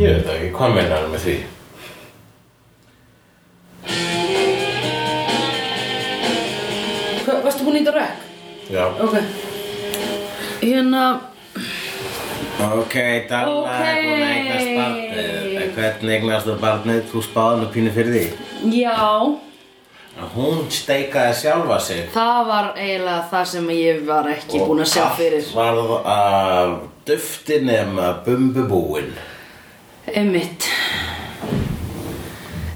Ég veit það ekki, hvað meina hann með því? Hva, varstu búin í þetta rökk? Já. Ok. Hérna, Ok, Dalla er búin að eignast barnið. En Hvernig eignast þú barnið? Þú spáði nú pínu fyrir því. já, Að Hún steikaði sjálfa sig. það var eiginlega það sem ég var ekki búin að sjá fyrir. Og allt varð af dufti nema bumbubúin. Einmitt.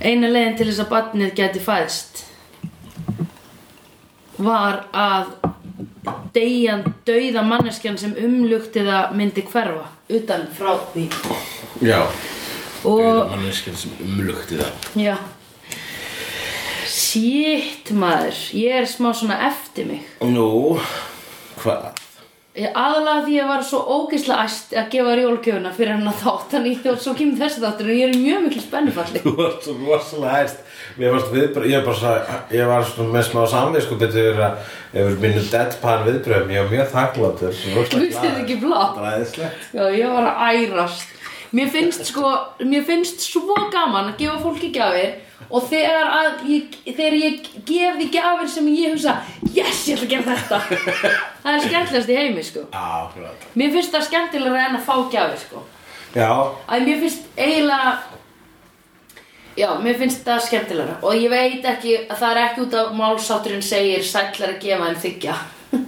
Einu leiðin til þess að barnið gæti fæðst var að deyjan dauða manneskjan sem umlugti það myndi hverfa utan frá því Já. og Manneskinn sem umlugti það. já Shit maður, ég er smá svona eftir mig Nú, hvað? Ég aðalega því ég var svo ógeðslega æst að gefa rjólgjöfuna fyrir hennar þátt þannig og svo kemur þessi þáttur og ég er í mjög miklu spennufalli Þú varst svo rosalega hæst. Mér varst viðbröð, ég var bara svo, ég var svona með smá samvisku betur yfir að yfir mínu deadpan viðbröðum, ég var mjög þakkláttur. Þú veist þetta ekki blátt Ræðislegt. Já, ég var að ærast Mér finnst sko, mér finnst svo gaman að gefa fólki gjafir og þegar, að, ég, þegar ég gef því gjafir sem ég hugsa Yes, ég ætla að gera þetta Það er skemmtilegast í heimi sko Já, akkurat. Mér finnst það skemmtilegra en að fá gjafir sko Já, að mér finnst eiginlega já, mér finnst það skemmtilegra og ég veit ekki að það er ekki út af málsátturinn segir sætlar að gefa en þykja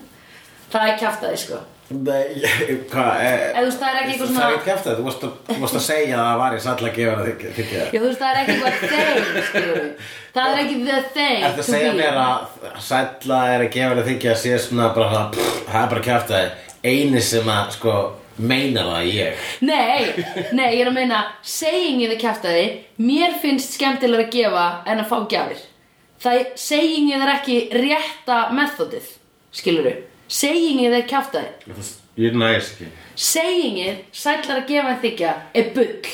það er kjaftaði sko Nei, ég- hvað? Eða, þú veist, það er ekki eitthvað Það svona- er ekki eftir það. Þú varst að- þú varst að segja að það var ég sall að gefa það þykja- þykja það. Já, þú veist, það er ekki eitthvað þeim, skilur við. Það er ekki the thing Ertu að to segja be. mér að sælla er að gefa þig þykja að sé svona bara svona, pff, það er bara kjátt að eini sem að sko meina það er ég Nei, nei, ég er að meina, saying eða kjæftaði, mér finnst skemmtilega að gefa en að fá gjafir. Það er, saying eða er ekki rétta methodið, skilur við. Saying eða er kjæftaði. Ég næs ekki Saying eða sætlar að gefa en þykja er bull.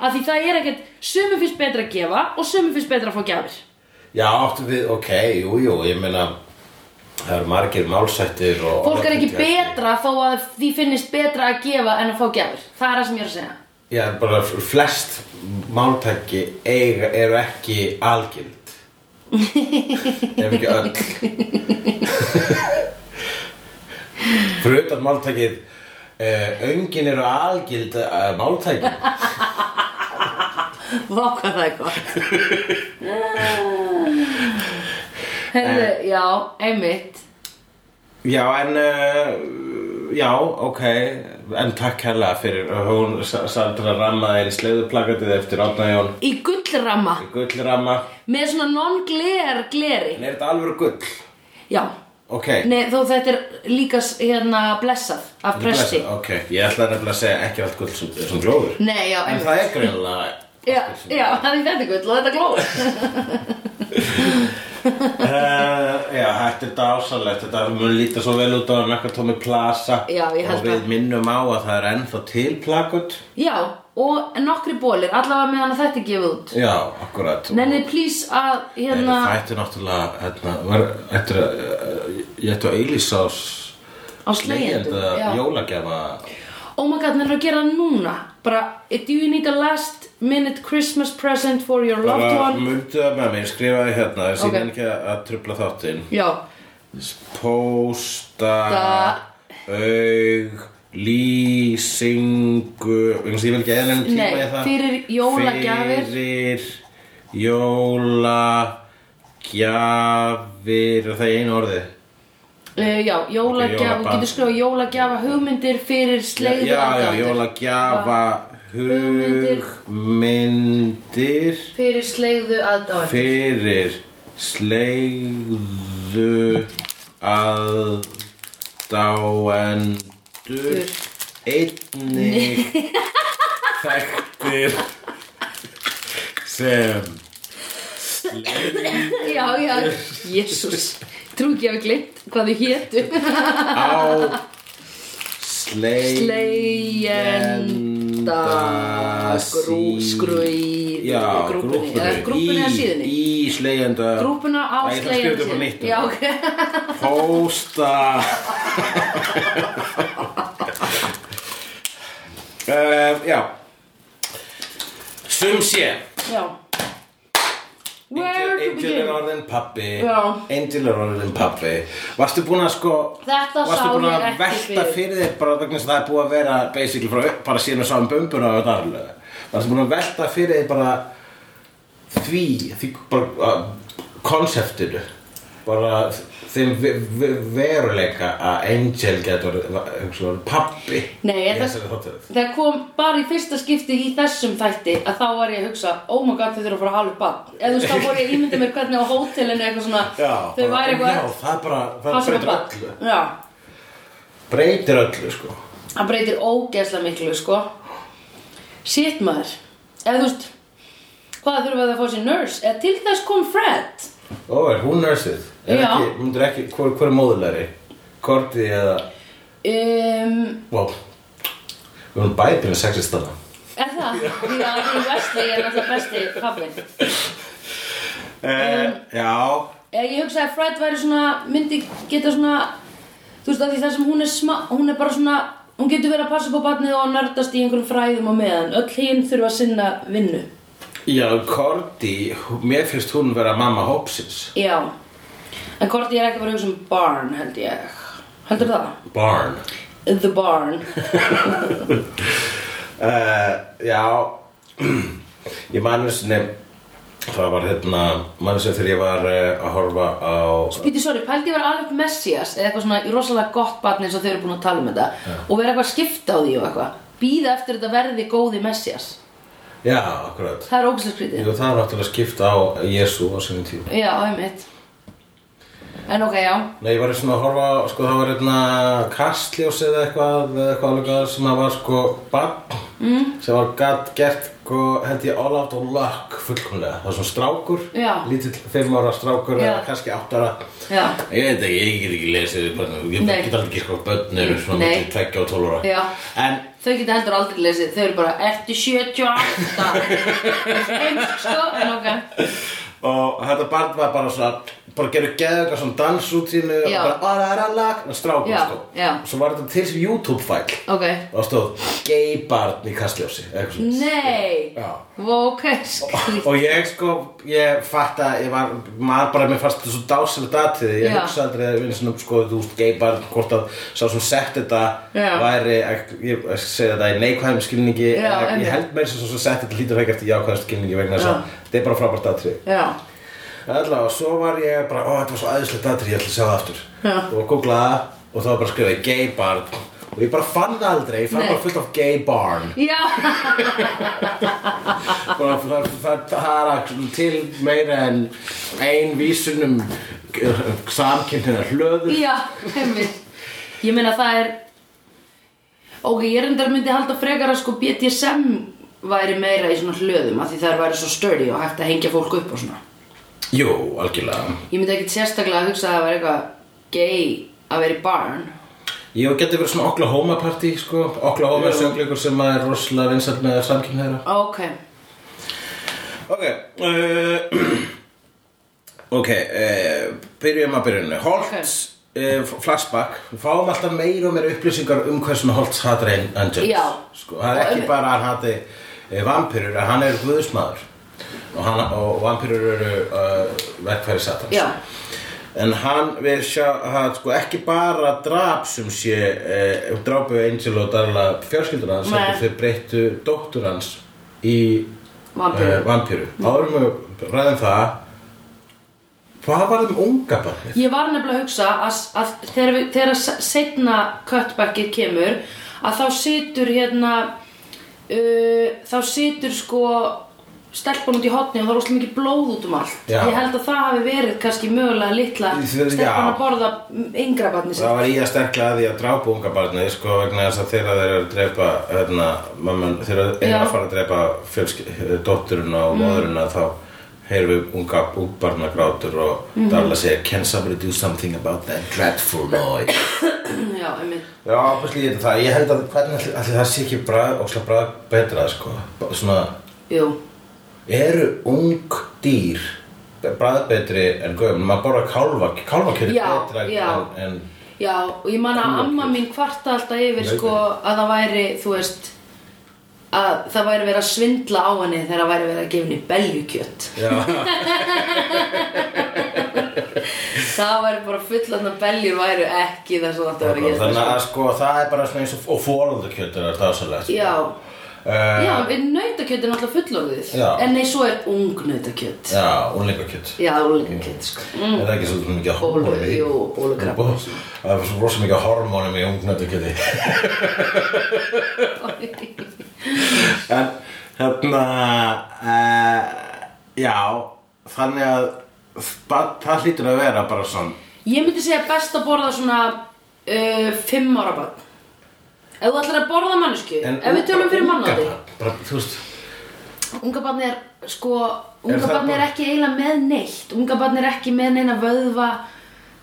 Af því það er ekkert, sumum finnst betra að gefa og sumum finnst betra að fá gjafir. já, áttu við, ok, jú, jú, ég meina, það eru margir málsættir og... Fólk er ekki betra þó að því finnist betra að gefa en að fá gjafir. Það er það sem ég er að segja. Já, bara flest máltæki eiga, eru ekki algild. Ef ekki öll. Fyrir utan máltækið, uh, öngin eru algild uh, máltæki. Vá hvað það er gott Herðu, já, einmitt Já en uh, já ok en takk hella fyrir hún sælla rammaði í sleiðuplakatið eftir Átna Jón Í gullramma, gullramma með svona non-gler gleri en er þetta alveg gull? Já, Ok Nei, þó þetta er líka s- hérna blessað af presti Ok, ég ætla nefnilega að segja ekki allt gull sem, sem glóður Nei, já, En einmitt það er greinlega Já, já, það er þetta er gull og þetta er glóð Uh, já, þetta er dásalegt, þetta mun líta svo vel út á hann eitthvað tómi plasa Já, ég held Og við að- minnum á að það er ennþá til plakut Já, og nokkri bólir, allavega meðan að þetta er gefið út Já, akkurat Nennið please að, hérna Það ætti náttúrulega, hérna, var, ættir að, eh, ég ætti að eilísa á s- Á slegjendum leigjanda já. jólagjafa Oh my god, maður er að gera það núna bara, eh, do you need a last minute Christmas present for your loved Bara one mundu það með mér, skrifaði hérna, ég Ok. sýnir ekki að að trufla þáttinn já, Pósta, aug, lýsingu, ég veist, ég vil ekki eða lengur tíma Nei, í það. fyrir jólagjafir. Fyrir jólagjafir, er það í einu orði? uh, já, jólagjafa, jólabarn. okay, getur skrifað jólagjafa hugmyndir fyrir sleiðu Já, já, aðdáendur. jólagjafa, hugmyndir fyrir sleiðu aðdáendur. fyrir slegðu aðdáendur einnig þekktir sem já, já, jésús trú ekki að við glimt hvað þið hétu á Slegjenda grú- skrúi- Já, grúpunni, grúpunni eða grúpunni eða Í- síðunni? Í slegjenda grúpuna á Æ, ég ætla að skrifa þetta upp á nýtt. sleiðu já, ok Pósta uh, Já Eh, Sum sé Já Where to Angel begin er orðin pappi Já. Angel er orðin pappi Varstu búin að sko Þetta Varstu sá búin ég að ekki velta fyrir. fyrir þér bara vegna þess að það er búið að vera basically frá upp bara síðan við sáum bumbuna og darlega Varstu búin að velta fyrir þér bara því, því bara uh, konseptinu bara þeim ve- ve- veruleika að Angel getur hugsaður pappi Nei, Í en það, þessari þáttaröð. það kom bara í fyrsta skipti í þessum þætti að þá var ég að hugsa oh my god þau þurfa að fara að halva upp barn eða þú veist þá voru ég að ímynda mér hvernig á hótelinu eitthvað svona Já, þau bara, væri eitthvað já, það er bara, það passa upp á breytir barn. öllu Já, breytir öllu sko það breytir ógeðslega miklu sko Shit maður eða þú veist hvað þurfa þau að fá sér nurse eða til þess kom Fred Ó, er hún nörsið? Er Já. ekki, hún er ekki, hver, hver er móðulegri? Korti eða, um, wow Við erum bæði með sexistana Er það? Því að í Wesley er náttúrulega besti pappin eh, Já Ég ég hugsaði að Fred væri svona, myndi geta svona Þú veist að því það sem hún er smá, hún er bara svona Hún getur verið að passa upp á barnið og nördast í einhverjum fræðum á meðan Öll hinn þurfa að sinna vinnu Já, Korti, mér finnst hún vera mamma hópsins Já En Korti er ekki bara að hugsa um barn held ég Heldur það? Barn The barn Eh, já Ég manu sinni Það var hérna, manu sinni þegar ég var uh, að horfa á Býti, sorry, pældi ég vera alveg messias eða eitthvað svona í rosalega gott barn eins og þau eru búin að tala um þetta og vera eitthvað að skipta á því og eitthvað Býða eftir þetta verði góði messias Já, akkurat Það er ógæslega skrítið Jú, það er náttúrulega skipt á Jésu á sinni tíma Já, einmitt En ok, já Nei, ég var svona að horfa, á, sko, það var hérna kastljós eða eitthvað, eða eitthvað alveg að sem að var sko barn mm. sem var gatt gert, sko, held ég all out of luck fullkomlega það var svona strákur, Já. lítill fimm ára strákur Já. eða kannski átt ára Já, Ég veit ekki, ég get ekki lesið bara, ég Nei. get aldrei sko börn eru svona Nei. milli 20 og 12 ára Já. En, þau geta heldur aldrei lesið Þau eru bara, ertu 78 Eins, sko, en ok og þetta barn var bara svona bara gerðu geðuga svona dansrútínu og Já. bara araralag, strákur Já, sko já. Svo var þetta til sem YouTube-fæl Ok og það stóð gay barn í kastljósi eða eitthvað svona Nei Já. Vó, ok, skrítið og ég sko, ég fatt að ég var, maður bara, mér fannst þetta svo dásilegt aðtið, ég Já. hugsa aldrei að vinna svona, sko, þú veist, gay barn, hvort að sá sem sett þetta Já. væri ek- ég ég segi þetta í neikvæðum skilningi Já, en einmitt. ég held meir sem svo sett þetta lítur ekki eftir jákvæðum skilningi vegna Já. þess að þetta er bara frábært aðtrið Já Allavega, svo var ég bara, ó, þetta var svo aðeinslegt aðtrið, ég ætla að sjá það aftur Já. Og googlaði það og það var bara skrifaði gay barn Og ég bara fann það aldrei, ég fann Nei. bara fullt af gay barn Já, Bara það, það, það er til meira en ein vísun um samkynntina hlöður já, einmitt Ég meina það er Ok, ég reyndar myndi halda frekar að sko BDSM væri meira í svona hlöðum af því þær væri svo sturdy og hægt að hengja fólk upp og svona Jú, algjörlega Ég myndi ekkert sérstaklega að hugsa að það væri eitthvað gay að vera í barn Jú, getur verið svona Oklahoma party, sko Oklahoma er söngleikur sem að er rosalega vinsall með samkynntina Ok, Ok, uh, ok, uh, byrjum að byrjunni Holtz, okay. flashback Við fáum alltaf meira og meira upplýsingar um hversuna Holtz hatar einn Angels Já. Sko, það er ekki bara að hann hati uh, vampirur, en hann er guðsmaður Og, hann, og vampirur eru uh, verkfæri satans já, En hann, við sjá, hann, sko, ekki bara drap sem sé, eh, drápu Angel og Darla fjárskildur hans, Nei. heldur þau breyttu dóttur hans í Vampíru. eh, vampíru. Árum við ræðum það, hvað var þeim unga barnið? ég var nefnilega að hugsa að, að þegar, við, þegar að setna cutbackið kemur að þá situr hérna uh, þá situr sko stelpan út í hotni og það er óslega mikið blóð út um allt Já. ég held að það hafi verið kannski mögulega litla Þið- stelpan já. að borða yngra barni sitt Það var í að sterkla að því að drápu unga barnið, sko, vegna þess að þeirra þeir eru að drepa, hérna, mamman, þeirra þeir eru Já. Mm. að fara að drepa fjölski, dótturina og móðurina, þá heyrum við unga útbarna grátur og Mhm. Darla segir, can somebody do something about that dreadful noise? já, einmitt Já, ábærslega ég það, ég held að hvernig ætli, ætli það sé ekki brað, óslega brað betra, sko, Bara svona, jú, eru ung dýr brað betri en gömum, maður borða kálva, kálvakjöri Já, betra já. en, en já og ég man að amma mín kvarta alltaf yfir sko að það væri, þú veist að það væri verið að svindla á henni þegar það væri verið að gefa henni beljukjött Já, það væri bara fullan að beljur væru ekki það sem þetta væri að þannig gera að sko það er bara svona eins og, og fóröldakjötur er dásalegt já, uh, já, en nautakjött er náttúrulega fullorðið Já. en nei, svo er ung nautakjött já úlingakjöt já, úlingakjött sko Er það ekki svolítið mikið Bólu- hormónum í? jú, bólukrabbi. Bó- Það er svo rosa mikið hormónum í ungnöndakjöti En hérna uh, Já Þannig að ba- það hlýtur að vera bara svona ég myndi segja best að borða svona uh, fimm ára barn ef þú ætlar að borða mannesku En ef við tölum fyrir unga mannandi bara- bara, Þú veist Ungabarni er sko Er það Ungabarni er, bara- ekki eiginlega með neitt Ungabarni er ekki með neina vöðva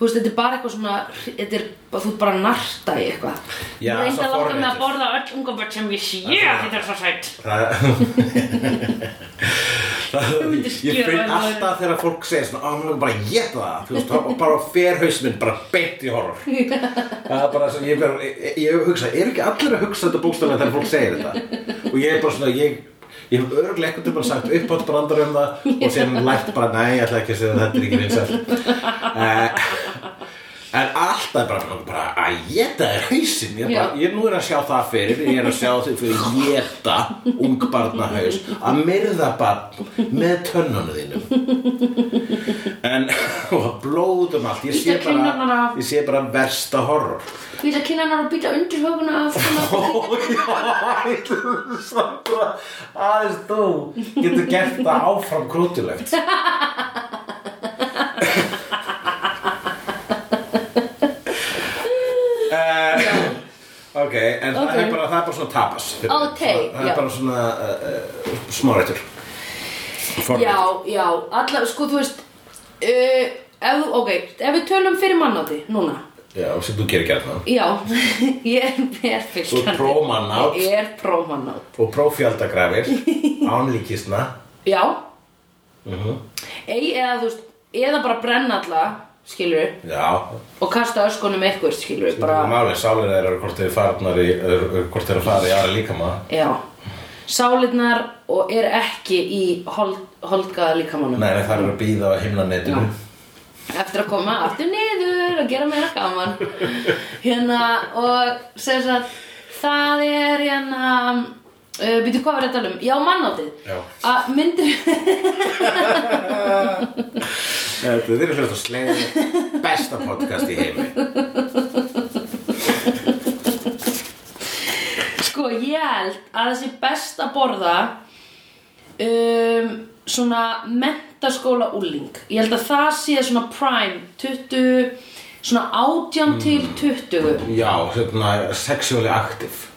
Þú veist, þetta er bara eitthvað svona Þetta er bara, þú ert bara að narta í eitthvað Já, Ég reyndi svo að láta mig forvitið. að borða öll ungabarn sem ég sé Þetta er svo sætt Það Þú myndir skera Ég finn það. alltaf þegar fólk segir svona að hún er bara að geta það þú veist, og bara fer haus minn bara beint í horror það er bara svona, ég, ver, ég, ég hugsa, er ekki allir að hugsa þetta bókstaflega þegar fólk segir þetta og ég er bara svona, ég ég hef örgulega ekkert um að sagt uppátt brandar um það og síðan lært bara, næ, ég ætla ekki að segja það, þetta er ekki vinsæl eh, en alltaf bara, bara að geta er hausinn ég, er bara, Já. ég nú er að sjá það fyrir ég er að sjá því fyrir að geta ungbarnahaus að myrða barn með tönnunum þínum en og blóð um allt ég sé Bíta kinnarnar bara, af. ég sé bara versta horror Býta kynnanar og býta undir höfuna af svona Ó, já, ég ætla samt bara, aðeins þú getur gert það áfram krútilegt uh, ok, en það Ok. er bara, það er bara svona tapas fyrir mig. Ok, Svona- það já. er bara svona uh, uh, smárættur Já, já, alla, sko, þú veist uh, ef, þú- Ok, ef við tölum fyrir mannáti Núna, já, sem þú gerir gert það já Ég er, ég er fylgjandi Þú ert prómannát. Ég er prómannát og prófjaldagrafir ánlíkisna Já Ei, eða þú veist eða bara brenna alla, skilur já, og kasta öskunum eitthvað, skilur bara, málið, sálir þeir eru hvort þeir farnar í, eru- hvort þeir eru að fara í aðra líkama já sálirnar og er ekki í hold, holdgaða líkamannum Nei, nei, það er að býða á himlanetinu eftir að koma aftur niður og gera meira gaman hérna og sem sagt það er hérna uh, býtu hvað var ég að tala um, já mannátið Já. að myndir Þetta er hljótt að slegði besta podcast í heimi Sko, ég held að það sé best að borða um, svona mentaskóla úling. Ég held að það sé svona prime, 20, svona 18 Mm. til 20. Já, svona sexually active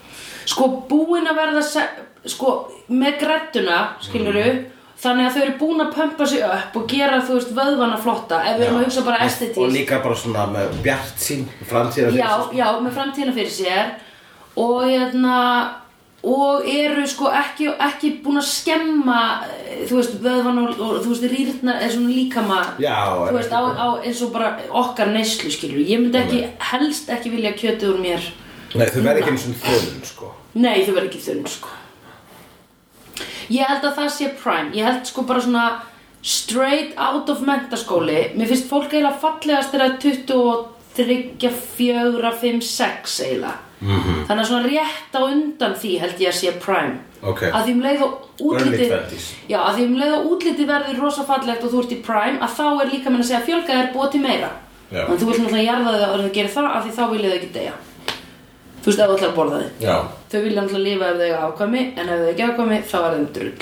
Sko, búin að verða, se- sko, með grettuna, skilur Mm. þannig að þau eru búin að pömpa sig upp og gera, þú veist, vöðvana flotta, ef við erum að hugsa bara Og estetísk. líka bara svona með bjart sín framtíðar já, já, með framtíðina fyrir sér og hérna og eru sko ekki, ekki búin að skemma eh, þú veist, vöðvan og, og þú veist, rýrna eða svona líkama þú Já, er veist, á, ekki á, eins og bara okkar neyslu skilur ég myndi ekki, helst ekki vilja kjötið úr mér Nei, þau verði ekki eins og þunn, sko nei, þau verður ekki þunn sko ég held að það sé prime ég held sko bara svona straight out of mentaskóli mér finnst fólk eiginlega fallegast þegar 23, 4, 5, 6 eiginlega Mhm. -hmm. þannig að svona rétt á undan því held ég að sé prime Ok. að því um leið og Early útliti 20s. já, að því um leið og útliti verður rosa fallegt og þú ert í prime að þá er líka meina að segja fjölga þér búa til meira Já. en þú vilt náttúrulega jarða þau að þau gerir það af því þá viljið þau ekki deyja þú veist ef þú ætlar að borða þau Já, þau vilja náttúrulega lifa ef þau eiga afkvæmi en ef þau ekki afkvæmi þá er þeim drull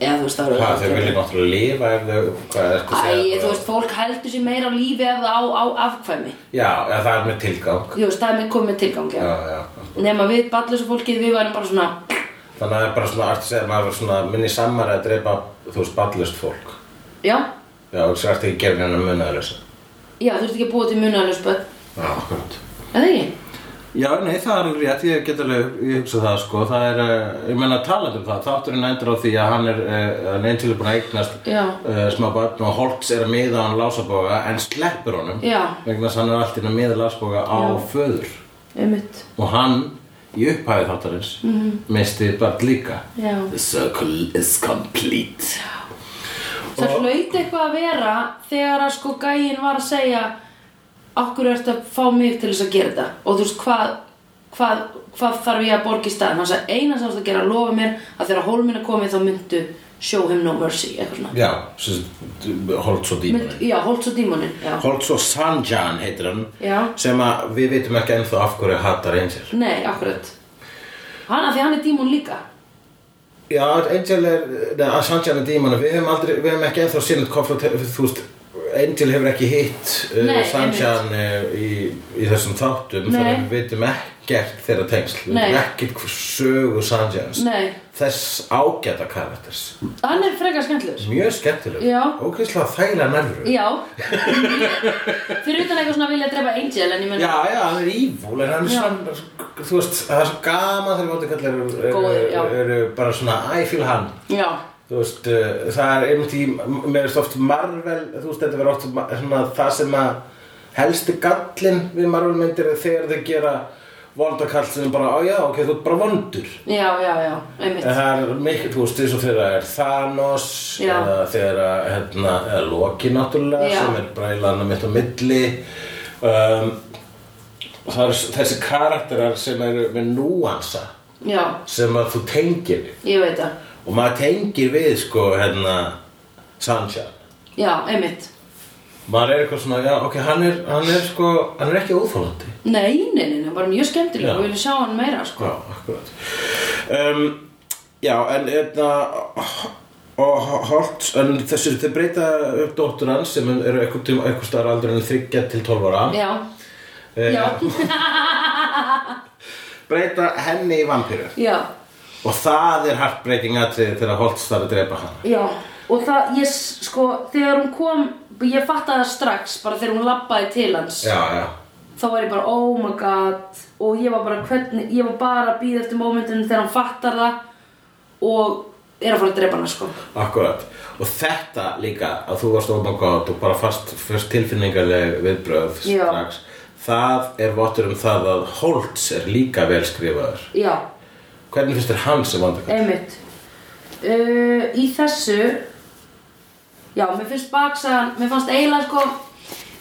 eða þú veist það hvað, þau vilja náttúrulega lifa ef þau, hvað er þetta Æ, að segja þú veist, fólk heldur sér meira á lífi ef það á, á afkvæmi Já, ja, það er með tilgang Þú veist, það er með komið tilgangi Já, já Nefn að við ballusu fólkið, við værum bara svona Þannig að það er bara svona, ertu að segja, maður er svona minni samar að dreipa, þú veist, ballust fólk Já, Já, þú ertu ekki gefin hennar munaðurleysa já, þú veist ekki að búa til munalus börn Já, akkurat Er það ekki? Já, nei, það er alveg rétt, ég get alveg, ég hugsa það sko, það er, eh, ég meina talað um það, þátturinn endur á því að hann er, eh, hann er til að búin að eignast Já. eh, smá barn og Holtz er að miða hann lásaboga en sleppur honum, Já. vegna þess að hann er alltaf að miða lásaboga á föður Einmitt og hann í upphæði þáttarins mm -hmm. misti bara líka Mhm. Já. The circle is complete Það hlaut eitthvað að vera þegar að sko gæin var að segja okkur ertu að fá mig til þess að gera þetta og þú veist hvað hvað, hvað þarf ég að borga í staðin þannig að eina sem þú ert að gera lofa mér að þegar hólminn er komið þá myndu show him no mercy eitthvað svona Já, holt svo Mynd, dýmanin já, Holtz og dímonin já. Holt svo Sanjan heitir hann Já. sem að við vitum ekki ennþá af hverju hattar Angel nei, akkurat hann að því hann er dímon líka Já, Angel er, neða, Sanjan er dýmanin við hefum, aldrei, við hefum ekki ennþá sinnið konfront þú veist, Angel hefur ekki hitt uh, Nei, Sanjan uh, í, í þessum þáttum Nei. þannig að við vitum ekkert þeirra tengsl við Nei. vitum ekkert hver sögu Sanjans nei, þess ágæta karakters hann er frekar skemmtilegur mjög skemmtileg Já. ógeðslega þægilega nervur já fyrir utan eitthvað svona að vilja drepa Angel en ég menn Já, já, hann er ívúl, en hann er Já. svona, þú veist, það er svo gaman þegar mótikallar eru, Góðir, já. eru, eru bara svona, æ, fíl hann. já, Þú veist, uh, það er einmitt í, mér veist oft Marvel, þú veist, þetta verður oft ma- svona það sem að helsti gallin við Marvel myndir er þegar þau gera vondakall sem er bara, á já, ok, þú ert bara vondur. já, já, já, einmitt En það er mikil, þú veist, eins og þegar það er Thanos, Já. eða þegar að, hérna, eða Loki náttúrulega, Já. sem er brælan að mitt á milli. Um, það eru s- þessi karakterar sem eru með núansa, já, sem að þú tengir við. ég veit það Og maður tengir við, sko, hérna, Sanjan. já, einmitt Maður er eitthvað svona, já, ok, hann er, hann er sko, hann er ekki óþólandi. Nei, nei, nei, nei, bara mjög skemmtileg Já. og við viljum sjá hann meira, sko. Já, akkurat um, Já, en eitna, og Holt en þessi, þeir breyta upp dóttur hans sem eru eitthvað, tíma- eitthvað starra aldur en 30 til 12 ára Eh, Já, já, breyta henni í vampíru já, og það er hart breyting aðtrið þegar Holt starra að drepa hann já. Og það, ég, s- sko, þegar hún kom, ég fattaði það strax, bara þegar hún labbaði til hans. Já, já, Þá var ég bara, oh my god, og ég var bara, hvernig, ég var bara að býða eftir mómentinu þegar hann fattar það og er að fara að drepa hana, sko. akkurat og þetta líka að þú varst ómangótt og bara fast fyrst tilfinningarleg viðbröð Já. strax það er vottur um það að Holtz er líka vel skrifaður Já, hvernig finnst þér hans sem vandakall? einmitt. Uh, í þessu Já, mér finnst baksagan, mér fannst eiginlega sko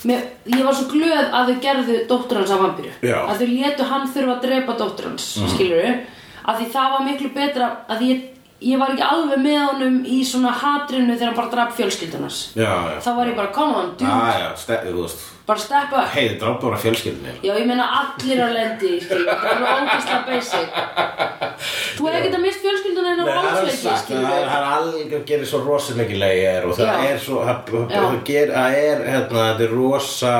mér, Ég var svo glöð að þau gerðu dóttur hans að vampíru Já. Mhm. Að þau létu hann þurfa að drepa dóttur hans, mm. Að því það var miklu betra Að ég, ég var ekki alveg með honum í svona hatrinu þegar hann bara draf fjölskyldunars Já, já. Ah." Þá var ég bara, come on, dude, Já, já, ste- þú veist, bara step up heiði sko. drábara fjölskyldinni. Já, ég meina allir á lendi, skilur, það er alveg ógeðslega basic Þú hefði getað mist fjölskylduna en á hálsleiki, skilur það er það er alveg að gera svo rosa mikið leiðir og það Já. er svo, það- Já. það ger- það er, hérna, þetta er rosa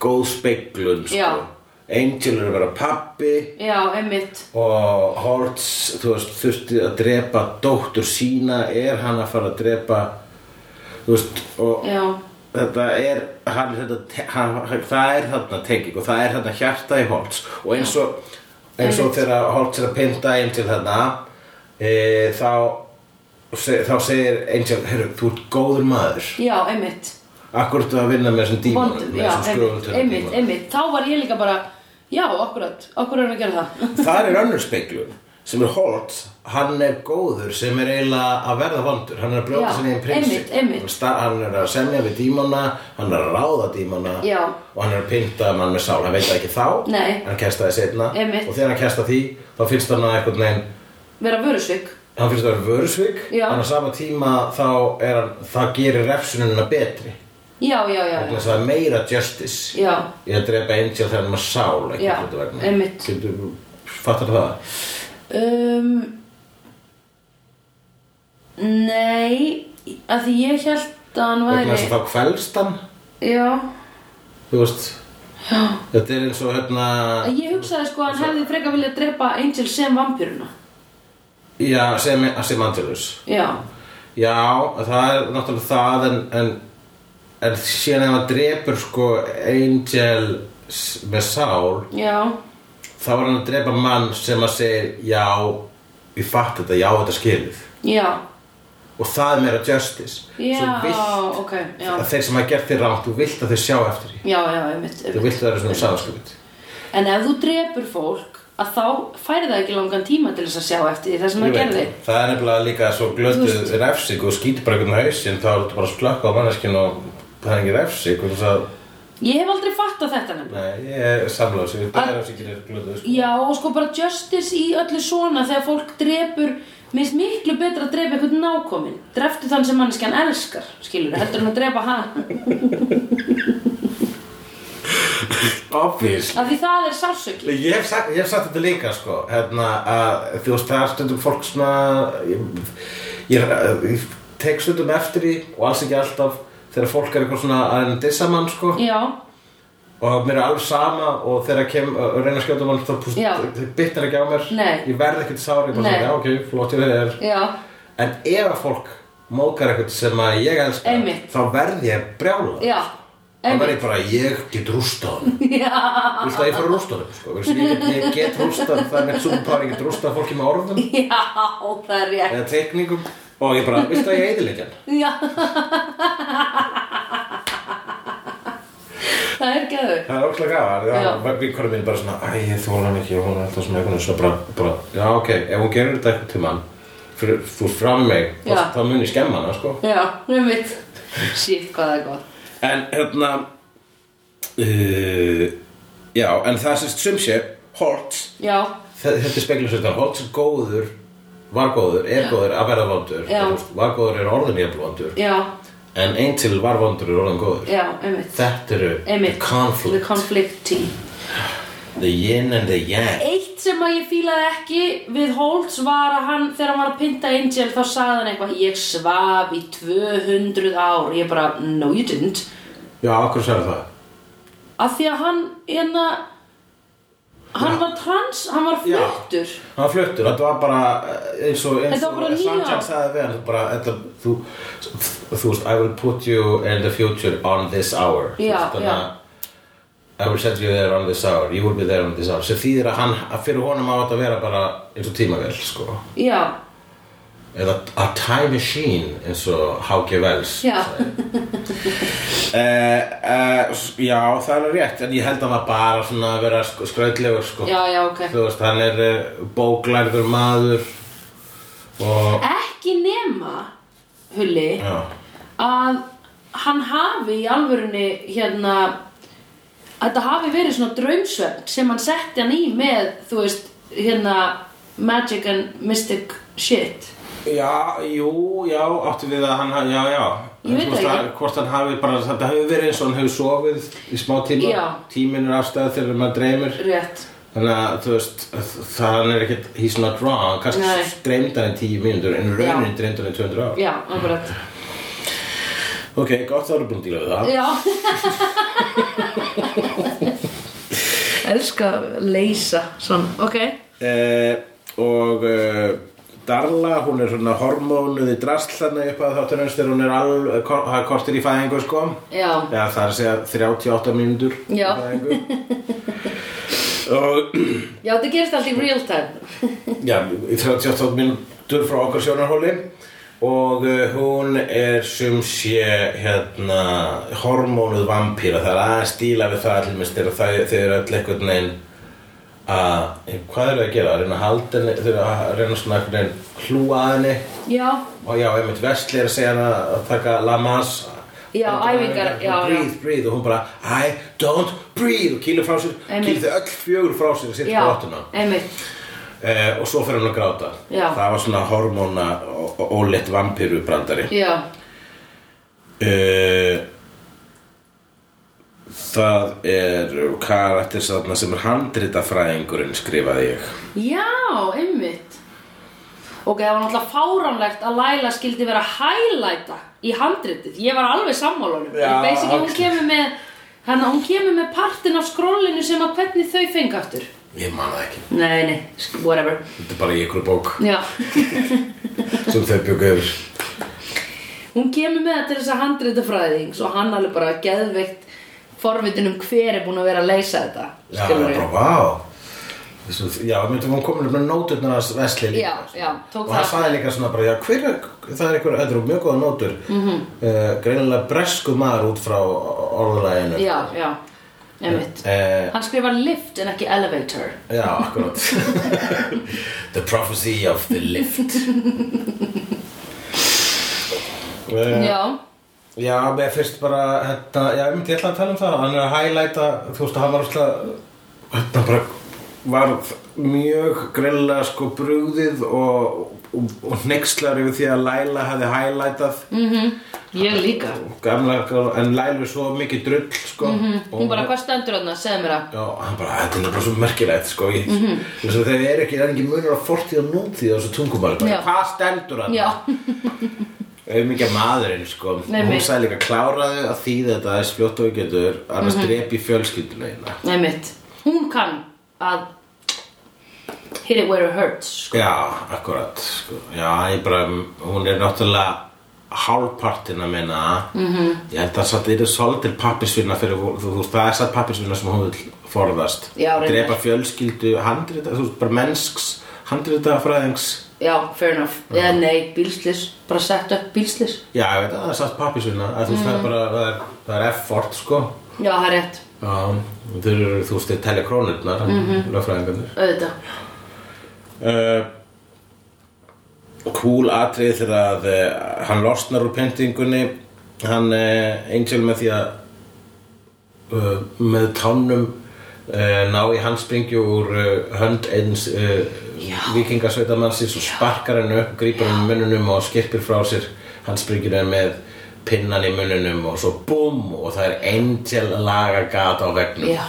góð speiklun, sko. Já. Angel er að vera pappi Já, einmitt og Hortz, þú veist, þurfti að drepa dóttur sína, er hann að fara að drepa, þú veist, og Já, þetta er hann, þetta, te- hann, hann, það er þarna tekið og það er þarna hjarta í Holtz og eins og, eins og þegar Holtz er að pynta Angel þarna e, þá, se, þá segir Angel, heyrðu, þú ert góður maður já, einmitt akkur ertu að vinna með þessum dímonum Vondum, með já, þessum einmitt, skröfuntum einmitt, dímonum einmitt Þá var ég líka bara, já, akkurat Akkur erum við að gera það það er önnur speiklun sem er Holtz, hann er góður sem er eiginlega að verða vondur hann er að brjóta Já, sinni einn prinsi einmitt, einmitt. Hann sta- hann er að semja við dímona hann er að ráða dímona Já. og hann er að pynta mann með sál hann veit það ekki þá, Nei. hann kestaði setna Einmitt. og þegar hann kesta því, þá finnst hann að einhvern veginn Vera vörusvík hann finnst það að vera vörusvík Já. en á sama tíma þá er hann það gerir refsununa betri Já, já, já, vegna já, þess að það er meira justice já. ég að drepa Angel þegar hann er með sál ekki Já, hlutu vegna. einmitt. Getur- fattar það? Um, Nei að Því ég held að hann vegna þess væri að þá kvelst hann Já þú veist þetta er eins og hérna Að Ég hugsaði sko að hann hefði frekar viljað drepa Angel sem vampýruna já, sem, sem Angelus Já, já, það er náttúrulega það en, en, en síðan ef hann drepur sko Angel s- með sál já, þá er hann að drepa mann sem að segir já, ég fatt þetta, já þetta er skilið já og það er meira justice Já, Svo vilt ok, já að þeir sem hafa gert þér rátt þú vilt að þeir sjá eftir því Já, já, einmitt, þú einmitt. vilt að það er svona sáðskjöld En ef þú drepur fólk að þá færi það ekki langan tíma til þess að sjá eftir því það sem Ég það veit gerði það. Það er nefnilega líka svo Þú glötuð refsing og skýtir bara einhvern hausinn þá er þetta bara að slökka á manneskinn og það er ekki refsing og þess að, ég hef aldrei fattað þetta nefnilega nei, ég er samlás ég Að- það er refsingir er glötuð sko. Ah. Já, og sko bara justice í öllu svona þegar fólk drepur minnst miklu betra að drepa einhvern nákominn dreftu þann sem manneskjan elskar skilur, heldur hann að drepa hann Obvious af því það er sársöki Ég hef, sagt, ég hef sagt þetta líka sko hérna, að þú veist það er stundum fólk svona ég, ég, er- ég tek stundum eftir í og alls ekki alltaf þegar fólk er eitthvað svona að dissa mann sko Já, og mér er alveg sama og þegar kem og reyna að skjóta mann þá púst, Já. það bitnar ekki á mér Nei. ég verð ekkert sári, bara Nei. svona, já ok, flott ég þegar já, en ef að fólk mókar eitthvað sem að ég elskar Einmitt. þá verð ég brjála já þá verð einmitt. ég bara, ég get rústa hann Já, Viltu að ég fara að rústa þeim, sko? Viltu, ég, ég get rústa, það er neitt superpower, ég get rústa fólki með orðum já, það er rétt eða teikningum og ég bara, viltu að ég eidilegja hann? Já Það er gæður Það er óslega gafar, Já. það var vinkonum minn bara svona, æ, ég þóla hann ekki og hún er alltaf svona einhvern veginn svona bara, bara, já, ok, ef hún gerir þetta eitthvað til mann, fyrir, þú ert fram með mig, Já. þá- þá mun ég skemma hana, sko. Já, nefnitt Sýtt hvað það er gott En, hérna, uh, já, en það sést sum sé, Hortz, Já, Þe- Þetta speklar svolítið að Hots er góður, var góður, er góður að verða vondur Já. Þú veist, Var góður er orðin jafn vondur já, En einn til var vondur er orðin góður já, einmitt Þetta eru Einmitt. the conflict, The conflict team the, yin and the yang Eitt sem að ég fílaði ekki við Holtz var að hann, þegar hann var að pynta Angel þá sagði hann eitthvað Ég svaf í 200 ár Ég bara, no you didn't Já, okkur sagði það Af því að hann, hérna Hann var trans, hann var Já. fluttur Hann fluttur, þetta var bara eh, eins og eins Þetta og var bara níu ár. Sanjak sagði við hann þú bara, þetta, þú, þú veist, I will put you in the future on this hour Þú Já, veist, þannig já. að I will send you there on this hour, you will be there on this hour sem þýðir að hann, að fyrir honum á þetta að vera bara eins og tímavél, sko Já, eða a time machine eins og H.G. Wells já, Eh, eh, s- já, það er alveg rétt en ég held að það var bara svona að vera sk- skrautlegur sko. já, já, ok þú veist, hann er eh, bóklærður maður og ekki nema Hulli já, að hann hafi í alvörunni hérna að þetta hafi verið svona draumsvefn sem hann setti hann í með þú veist hérna magic and mystic shit já, jú, já áttu við að hann, ha- já, já Ég veit Þú veist, það að- ekki. hvort hann hafi bara, þetta hefur verið eins og hann hefur sofið í smá tíma Já. tíminn er afstæða þegar maður dreymir rétt Þannig að þú veist, það er ekkert, he's not wrong, Nei. kannski dreymd hann í tíu mínútur, en raunin dreymd hann í 200 ár. já, akkurat Ok, gott það eru búin að díla við það. já elska að leysa svona, ok Eh, og eh, Darla, hún er svona hormónuð í drasl þannig upp að þáttur hans þegar hún er alveg, það er kortir í fæðingu sko. já, Já, það er að segja 38 mínútur í Já. fæðingu. og já þetta gerist allt í real time já, í 38 mínútur frá okkar sjónarhóli og uh, hún er sem sé hérna hormónuð vampíra það er aðeins stíla við það allir þegar það- þau eru öll einhvern veginn að eh, hvað eru þau að gera, að reyna að halda henni þau eru að reyna svona einhvern veginn hlúa að henni já, og já, einmitt Vesli er að segja hana að taka Lamas Já, æfingar, já, já. breathe, breathe og hún bara I don't breathe og kýlur frá sér Einmitt. kýlur þau öll fjögur frá sér og sitt já, frá áttuna einmitt Eh, og svo fyrir hún að gráta Já. það var svona hormóna ólétt vampiru brandari já, eh, það er karakter þarna sem er handritafræðingurinn skrifaði ég Já, einmitt Ok, það var náttúrulega fáránlegt að Laila skildi vera að highlighta í handritið Ég var alveg sammálunum Já, Basically, hún ok. kemur með Þannig að hún kemur með partin af skrólinu sem að hvernig þau fengi aftur ég man það ekki, Nei, nei, whatever þetta er bara í ykkur bók Já, sem þau byggu yfir hún kemur með það til þess að handrita fræðings og hann alveg bara geðveikt forvitin um hver er búin að vera að leysa þetta já, það skilurðu. er bara, vá Þessu, já, myndum hún komin upp með nóturnar að Vesli líka Já, já, tók og hann það. sagði líka svona bara, já, hver er, það er einhver, þetta eru mjög Eh, góða Mhm. nótur mm -hmm. greinilega bresku maður út frá orðlæginu Já, já einmitt Eh, Hann skrifar lift en ekki elevator já, akkurat The prophecy of the lift Eh, Já, Já, mér finnst bara þetta, já, ég myndi ætla að tala um það hann er að hælæta, þú veist, hann var alltaf, þetta bara var mjög grilla sko brugðið og, og, og hneikslar yfir því að Læla hefði hælætað Mm. ég líka gamla, en Lælu svo mikið drull sko Mhm, Hún bara, hvað stendur þarna, segðu mér það Já, hann bara, þetta er bara svo merkilegt sko ég, mm Mhm. -hmm. þegar er ekki, það er ekki munur á fortíð og nútíð á þessu tungumál Já. bara, hvað stendur hann? Já, auðvitað maðurinn sko Nei, hún nei. sagði líka kláraðu að þýða þetta eins fljótt og þú getur annars Mhm. mm -hmm. drepi fjölskylduna hérna einmitt Hún kann að hit it where it hurts sko. já, akkurat sko. já, ég bara, hún er náttúrulega hálfpartin að minna Mhm. -hmm. ég held að það eru svolítil pappisvinna fyrir, þú, þú, þú, það er satt pappisvinna sem hún vil forðast Já, reyndar. drepa fjölskyldu, handrita þú veist, bara mennsks, handrita fræðings Já, fair enough Eða nei, bílslis, bara sett upp bílslis já, ég veit að það er satt pappisvinna að þú veist, það er bara, það er, það er effort sko Já, það er rétt, Já, þeir eru, þú veist, þeir telja krónurnar, mm -hmm. lögfræðingarnir. auðvitað Uh, cool atrið þegar að uh, hann losnar úr pyntingunni, hann uh, Angel með því að uh, með tánum uh, ná í handspringju úr uh, hönd eins uh, Já. vikingasveitamannsins og sparkar hann upp, grípar hann í mununum og skirpir frá sér handspringjuna með pinnan í mununum og svo búm og það er Angel laga gata á vegnum. Já,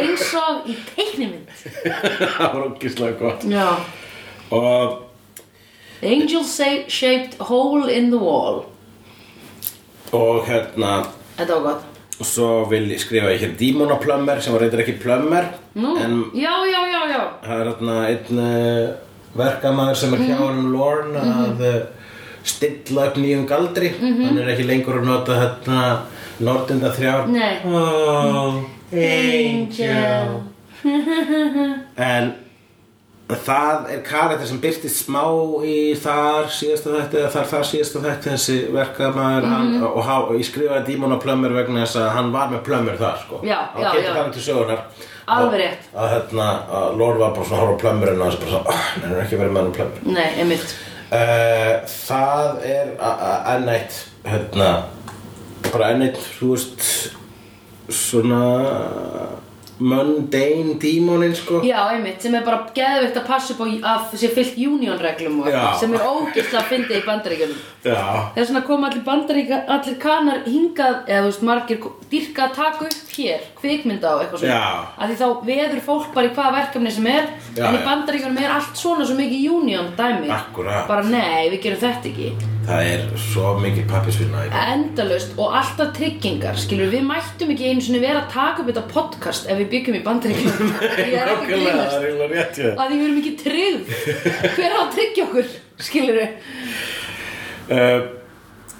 eins og í teiknimynd það var ógislega gott Já og Angel say, shaped hole in the wall og hérna Þetta var gott svo vil ég skrifa ég hér dímonaplömmer sem var reyndar ekki plömmer Nú, en já, já, já, já það er hérna einn uh, verkamaður sem Mhm. er hjá hann Lorne að uh, stilla upp nýjum galdri Mhm. hann er ekki lengur að nota hérna nortinda þrjár Nei. oh, Angel en það er karakter sem byrtist smá í þar síðasta þetta eða þar þar síðasta þetta þessi verkamaður hann, Mhm. og, há, og ég skrifaði Dímon á plömmur vegna þess að hann var með plömmur þar sko. Já, hann já, getur já. þannig til sögunar Alveg Að- rétt. að hérna, að Lord var bara svona að horfa á plömmurinn og hans bara svona, ah, hann er ekki verið með hann um plömmur Nei, einmitt uh, það er a- a- enn eitt hérna, bara enn eitt þú veist svona mundane dímonin sko Já, einmitt, sem er bara geðvitt að passa upp á að sé fyllt union-reglum og Já. eitthvað, sem er ógisla að fyndi í bandaríkjunum já, Það er svona að koma allir bandaríka, allir kanar hingað eða þú veist margir ko- dýrka að taka upp hér, kvikmynda og eitthvað svona Já. að því þá veður fólk bara í hvaða verkefni sem er Já, en í já. bandaríkunum er allt svona svo mikið union dæmi Akkúrat. bara nei, við gerum þetta ekki það er svo mikið pappisvinna í dag. endalaust og alltaf tryggingar skilur við mættum ekki einu svona vera að taka upp þetta podcast ef við byggjum í bandaríkunum ég er ekki að Nákvæmlega, grínast það er eiginlega rétt hjá þér. að því við erum ekki tryggð hver á að tryggja okkur, skilur Eh. uh,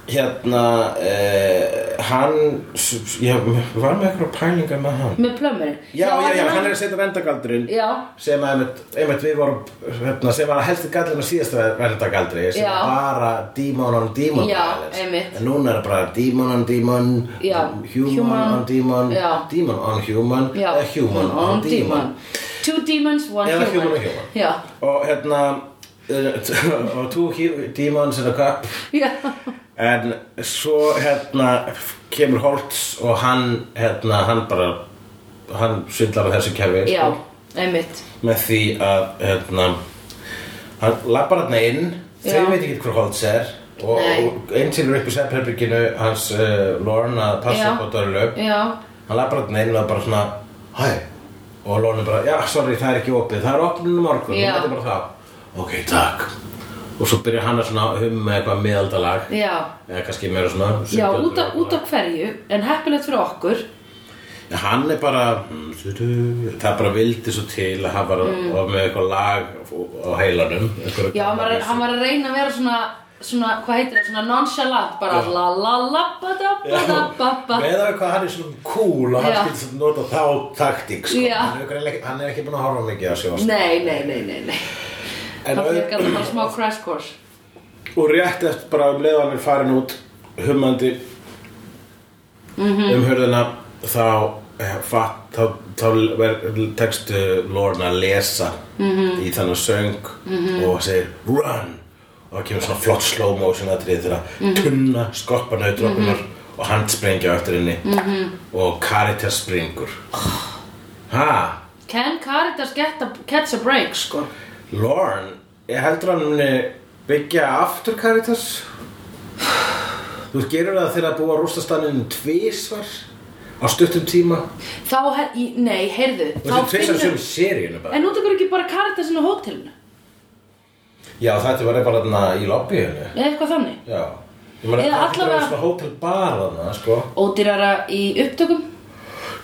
hérna uh, hann s- ég var með eitthvað pælingar með hann með plömmurinn já, já, já, hann- hann er að setja vendagaldurinn Já. sem að einmitt, einmitt við vorum hérna, sem var helsti gallin á síðasta vendagaldri sem Já. var bara demon on demon Já, violence. einmitt. en núna er það bara demon on demon Já. human, Human. on demon Já. demon on human já. eða human on, demon, Two demons, one Eða human human og human. Já, og hérna eh, og two hu- demons in a cup já, En svo hérna kemur Holtz og hann hérna, hann bara hann svindlar á þessu kerfi já, sko, einmitt með því að hérna hann lappar hann inn Já. þau veit ekki hver Holtz er og, Nei. og einn til er upp í sefherbygginu hans uh, Lorne að passa Já. upp á Dörlu Já, hann lappar hann inn og bara svona hæ og Lorne bara já sorry það er ekki opið það er opninu morgun Já. þetta er bara það ok takk og svo byrjar hann að svona humma eitthvað miðaldalag já eða kannski meira svona Já, 70 út af, út af hverju, en heppilegt fyrir okkur Já, hann er bara "Mm, það bara vildi svo til að hann var mm. með eitthvað lag á heilanum einhverja- Já, hann var, hann var að reyna að vera svona, svona hvað heitir það, svona nonchalant bara Já. la la la ba da ba da ba ba með að hvað hann er svona cool og hann Já. getur svona nota þá taktík sko. Já. hann, er greinilega- hann er ekki búin að horfa mikið að sjá Nei, nei, nei, nei, nei En Það auð- fekk alveg bara smá crash course og rétt eftir bara um leiða hann er farin út humandi um hörðina þá eh, fatt, þá, þá ver- tekstu Lorna að lesa í þannig söng og segir run og það kemur svona flott slow motion aðrið þegar tunna skoppa nautrópunar og handsprengja á eftir henni og Caritas springur ha, Can Caritas get a, catch a break, sko? Lorne ég heldur hann muni byggja aftur Caritas þú veist, gerur það þegar að búa rústastaninu tvisvar á stuttum tíma Þá, he- í- nei, heyrðu, Þú veist, tvisvar sem seríunum bara En nú tekur ekki bara Caritasinn á hótelinu? Já, þetta var bara þarna í lobbyinu Eða eitthvað þannig? Já Ég meina, Eða það er allavega- svona hótel bar þarna, sko Ódýrara í upptökum?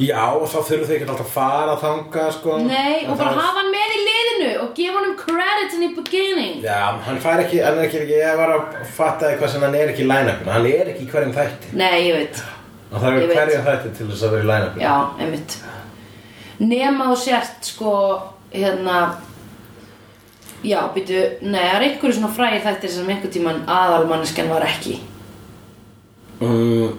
Já, og þá þurfum þau ekki alltaf að fara þangað, sko Nei, En og bara það- hafa hann með í liðinu og gefa honum credit in the beginning. Já, hann fær ekki, hann er ekki, ég var að fatta því hvað sem hann er ekki í line-upinu Hann er ekki í hverjum þætti Nei, ég veit. Hann þarf Ég ekki veit. hverjum þætti til þess að vera í line-upinu Já, einmitt. Nema þú sért, sko, hérna, já, býtu, nei, það er einhverju svona fræði þættir sem einhver tíman aðalmanniskan var ekki. mm,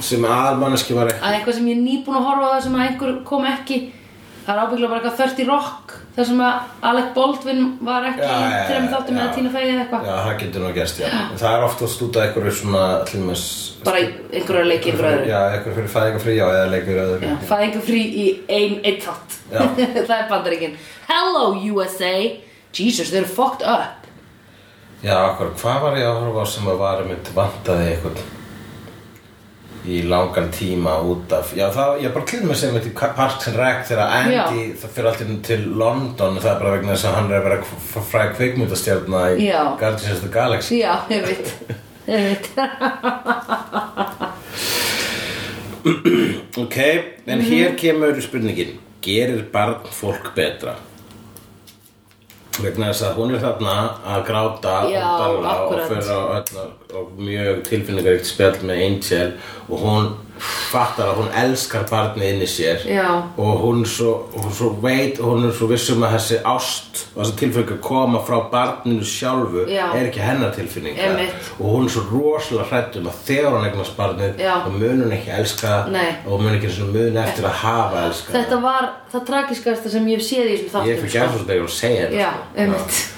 Sem aðalmanneski var ekki Að eitthvað sem ég er nýbúin að horfa á það sem að einhver kom ekki, það er ábygglega bara eitthvað 30 rock, þar sem að Alec Baldwin var ekki Já, í já, þrejum já, þáttum já. eða Tina Fey eða eitthvað. Já, það getur nú gerst, já En Það er oftast út af einhverju svona, allumis Bara einhverju leikið einhverju öðru. Já, einhverju fyrir fæðingarfrí, já, eða leikur öðru Já, fæðingafrí í ein, einn þátt Já. Það er bandaríkin Hello USA Jesus, they're fucked up Já, akkur, hvað var ég að horfa á sem að var mitt vantaði eitthvað í langan tíma út af Já, það, ég bara klýðum mig sem þetta Parks and Rec þegar Andy, það fyrir alltaf til London, það er bara vegna þess að hann er að vera kv- f- fræg kvikmyndastjarna í Já. Guardians of the Galaxy Já, ég veit Ég veit Ok, Mhm. en hér kemur spurningin Gerir barn fólk betra? Vegna þess að hún er þarna að gráta Já, og dala akkurat. og fyrir á öll og mjög tilfinningaríkt spjall með Angel og hún fattar að hún elskar barnið inn í sér Já. og hún svo, hún svo veit og hún er svo vissum að þessi ást og þessi tilfinningar koma frá barninu sjálfu Já. er ekki hennar tilfinningar Einmitt. og hún er svo rosalega hrætt um að þegar hún eignast barnið Já. þá mun hún ekki elska það Nei. og mun ekki eins og mun eftir að hafa elskað Þetta var það tragiskasta sem ég hef séð í þessum það þáttum sko. ég fyrir gæðsvöld þegar hún segja þetta Já, sko. ég veit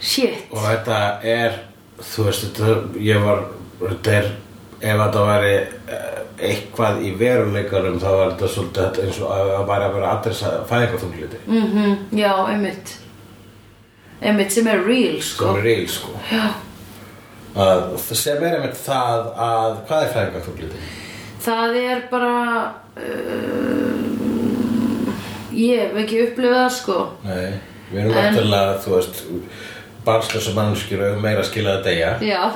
Shit og þetta er þú veist þetta ég var þetta er ef þetta væri eh, eitthvað í veruleikarum þá var þetta svolítið þetta eins og að það væri að vera adressa fæðingarþungliti mm. Mhm, Já, ég veit Ég veit sem er real, sko sem er reil sko Já að, sem er einmitt það að hvað er fæðingarþungliti? Það er bara uh, Ég hef ekki upplifað það, sko Nei, við erum En- náttúrulega þú veist barnslösa mannskjur og meira að skila að deyja Já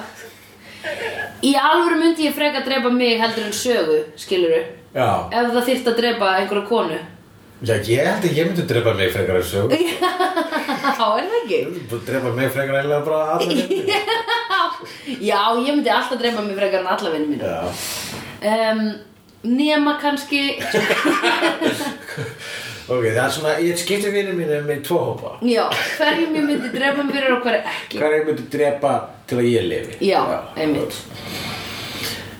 Í alvöru myndi ég freka að drepa mig heldur en sögu, skiluru Já, Ef það þyrft að drepa einhverja konu Já, ég held að ég myndi drepa mig frekar en sög Já, er það ekki? Drepa mig frekar eiginlega bara allar myndi Já, ég myndi alltaf drepa mig frekar en alla vinnu mínu Já, um, Nema kannski ok, það er svona, ég skipti vinnu mínu með tvo hópa Já, hverjum ég myndi drepa mig fyrir og hverju ekki Hvað er ég myndi drepa til að ég lifi Já, einmitt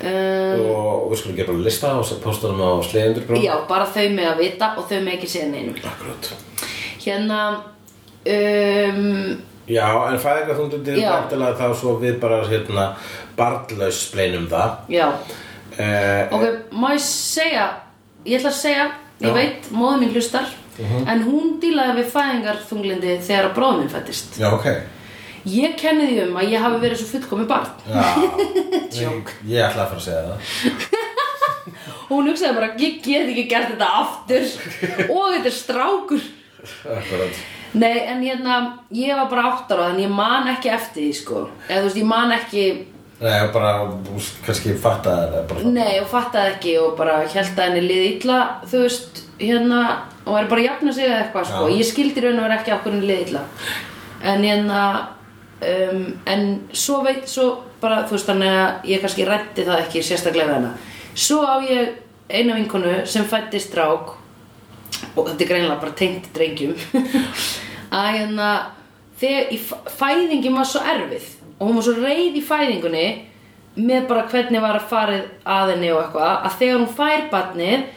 um, Og við skulum gera bara lista og posta hann á sleiðendur Já, bara þau með að vita og þau með ekki segja neinum Akkurát Hérna um, Já, en fæðingar þú myndir Já. væntanlega þá svo við bara hérna barnlaus spleinum það Já, eh, Ok, má ég segja, ég ætla að segja, ég Já. veit, móður mín hlustar, en hún dílaði við fæðingarþunglindi þegar að bróður minn fættist. Já, ok Ég kenni því um að ég hafi verið svo fullkomi barn. Já, ég, ég ætla að fara að segja það Hún hugsaði bara, ég get ekki gert þetta aftur og þetta er strákur. Akkurát Nei, en hérna, ég var bara áttara, þannig ég man ekki eftir því, sko. Eða þú veist, ég man ekki, Nei, ég bara, kannski fatta það bara nei, og fattaði ekki og bara held að henni liði illa, þú veist, hérna, og er bara að jafna sig eða eitthvað, sko. Já. Ég skildi raun og verið ekki okkur henni liði illa. En hérna, um, en svo veit, svo bara, þú veist, þannig að ég kannski rætti það ekki sérstaklega við hana. Svo á ég eina vinkonu sem fættist drák og þetta er greinilega bara tengt drengjum að hérna þegar í fæðingin var svo erfið og hún var svo reið í fæðingunni með bara hvernig var að farið að henni og eitthvað að þegar hún fær barnið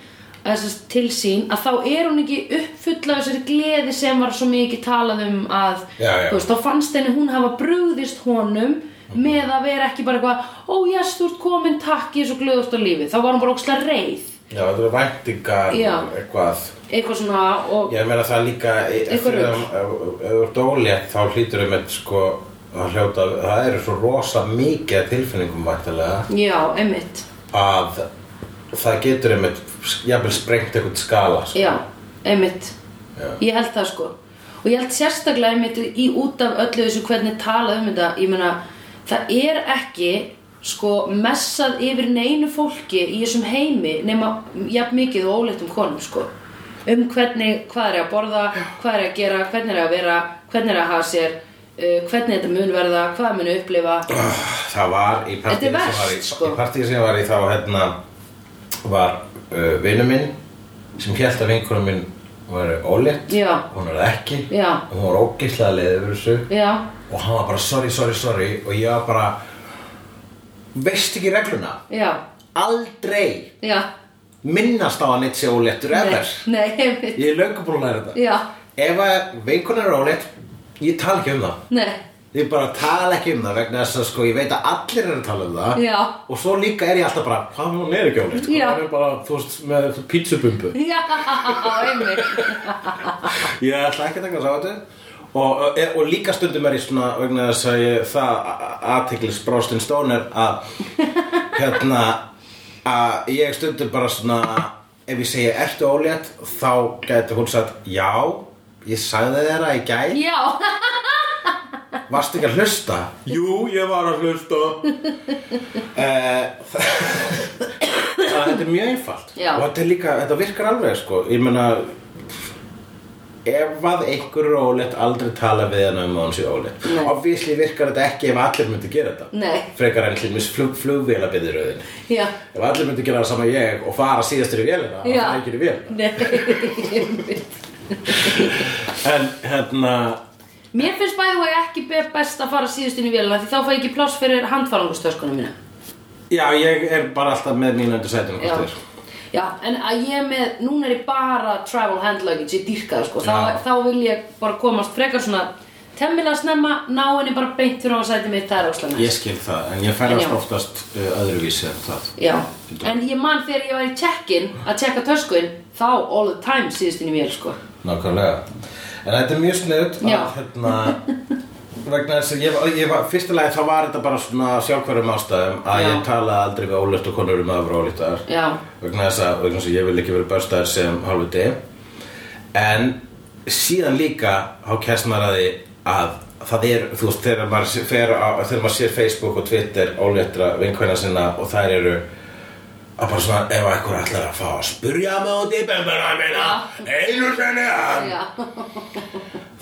eða sem sagt til sín að þá er hún ekki uppfulla af þessari gleði sem var svo mikið talað um að Já, já. Mhm. þú veist, þá fannst henni hún hafa brugðist honum með að vera ekki bara eitthvað ó jæs þú ert komin takk ég er svo glöðust á lífi þá var hún bara ókslega reið Já, þetta er væntingar Já. eitthvað eitthvað svona og Ég meina það líka e, Eitthvað Eftir að rugl. ef ef þú ert ólétt þá hlýtur um eitt sko að hljóta, það eru svo rosa mikið af tilfinningum væntalega já, einmitt að það getur einmitt jafnvel sprengt eitthvað skala sko. Já, einmitt Já. Ég held það sko Og ég held sérstaklega einmitt í út af öllu þessu hvernig talað um þetta Ég meina, það er ekki sko messað yfir neinu fólki í þessum heimi nema jafn mikið og óléttum konum sko um hvernig, hvað er að borða hvað er að gera, hvernig er að vera hvernig er að hafa sér uh, hvernig þetta mun verða, hvað mun upplifa Ah. það var í partíi Þetta er sem var í, verst, sko. í partíi sem ég var í þá hérna var uh, vinnu minn sem held að vinkunum minn var ólétt Já. hún er það ekki Já. og hún var ógislega leið yfir þessu Já, og hann var bara sorry, sorry, sorry og ég var bara veist ekki regluna já, aldrei já minnast á að neitt sé óléttur ever Nei, nei, einmitt ég er löngu búin að læra þetta Já, ef að vinkunum er ólétt ég tala ekki um það nei, Ég bara tala ekki um það vegna þess að sko ég veit að allir eru að tala um það Já. Og svo líka er ég alltaf bara, hvað hún er ekki ólegt Já. Hún er bara, þú veist, með pítsubumbu já, einmitt Ég ætla ekki að taka sá þetta og, og, og líka stundum er ég svona vegna þess að ég, það aðteklis Brostin Stoner að hérna að ég stundum bara svona ef ég segi ertu ólétt þá gæti hún sagt já ég sagði þér að ég gæt Já, Varst ekki að hlusta? Jú, ég var að hlusta Eh, Þetta er mjög einfalt Já. Og þetta, er líka, þetta virkar alveg sko Ég meina Ef að einhver er ólétt aldrei tala við hann um að hann sé ólétt Nei. Obvísli virkar þetta ekki ef allir myndi gera þetta Nei. Frekar enn hlýmis flug, flugvélabyrðiröðin já, Ef allir myndi gera það sama og ég og fara síðastur í vélina þá já fara ekki í vélina Nei, einmitt. En hérna Mér finnst bæði og ekki be- best að fara síðust inn í vélina því þá fæ ég ekki pláss fyrir handfarangustöskuna mína Já, ég er bara alltaf með mín undir sætinu Já, já en að ég er með, núna er ég bara travel hand luggage, ég dýrka það sko Já. þá, þá vil ég bara komast frekar svona temmilega snemma, ná henni bara beint fyrir á að sæti mitt, það er óslega Ég skil það, en ég En ferðast já. oftast uh, öðruvísi en það. Já, en ég man þegar ég var í check-in að checka töskun, þá all the time síðust inn í vél sko Nákvæmlega. En þetta er mjög sniðut Já. að hérna, vegna þess að ég, var- ég var, fyrsta lagi þá var þetta bara svona sjálfhverjum ástæðum að Já. ég talaði aldrei við ólöftu konur um að vera ólítar. Já, Vegna þess að, vegna þess að ég vil ekki vera börstaðar sem hálfuti. En síðan líka á kæstmaraði að það er, þú veist, þegar maður, fer á, þegar maður sér Facebook og Twitter óléttra vinkvæna sinna og þær eru að bara svona ef eitthvað ætlar að fá að spurja mig út í bembuna minna einu sinni að já,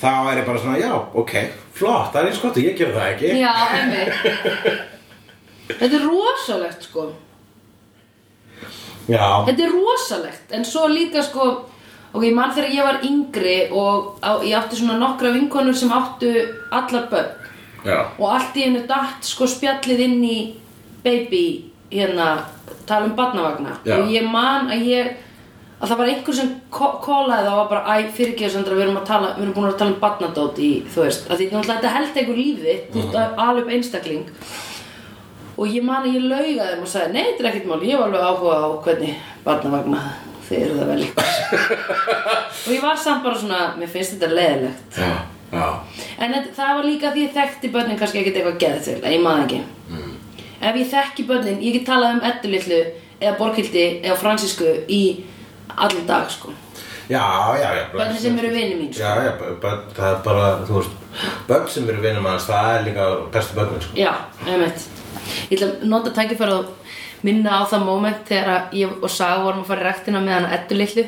þá er ég bara svona já, ok, flott, það er eins gott og ég gerði það ekki já, einmitt Þetta er rosalegt sko já, Þetta er rosalegt En svo líka sko Ok, ég man þegar ég var yngri og á, ég átti svona nokkra vinkonur sem áttu allar börn já. og allt í einu datt sko spjallið inn í baby hérna, tala um barnavagna Já. og ég man að ég að það var einhver sem kólaði það og var bara æ, fyrirgeðu Sandra, við erum að tala við erum búin að tala um barnadót í, þú veist að því náttúrulega þetta held einhver lífi þú veist, að ala upp einstakling og ég man að ég lauga þeim og sagði nei, þetta er ekkert mál, ég var alveg áhuga á hvernig barnavagna þið eru það vel og ég var samt bara svona, mér finnst þetta leiðilegt já, já En þetta- það var líka því ég þekkti börnin kannski ekkert eitthvað geðið til, að ég maður ekki. Ef ég þekki börnin, ég get talað um Eddu litlu eða Borghildi eða Francisku í allir dag, sko. já, já, já Börnin sem eru vinir mín, sko. já, já, börn- börn, það er bara, þú veist börn sem eru vinum hans, það er líka bestu börnin, sko Já, einmitt. Ég ætla að nota tækifæra og minna á það moment þegar að ég og Saga vorum að fara í rektina með hana Eddu litlu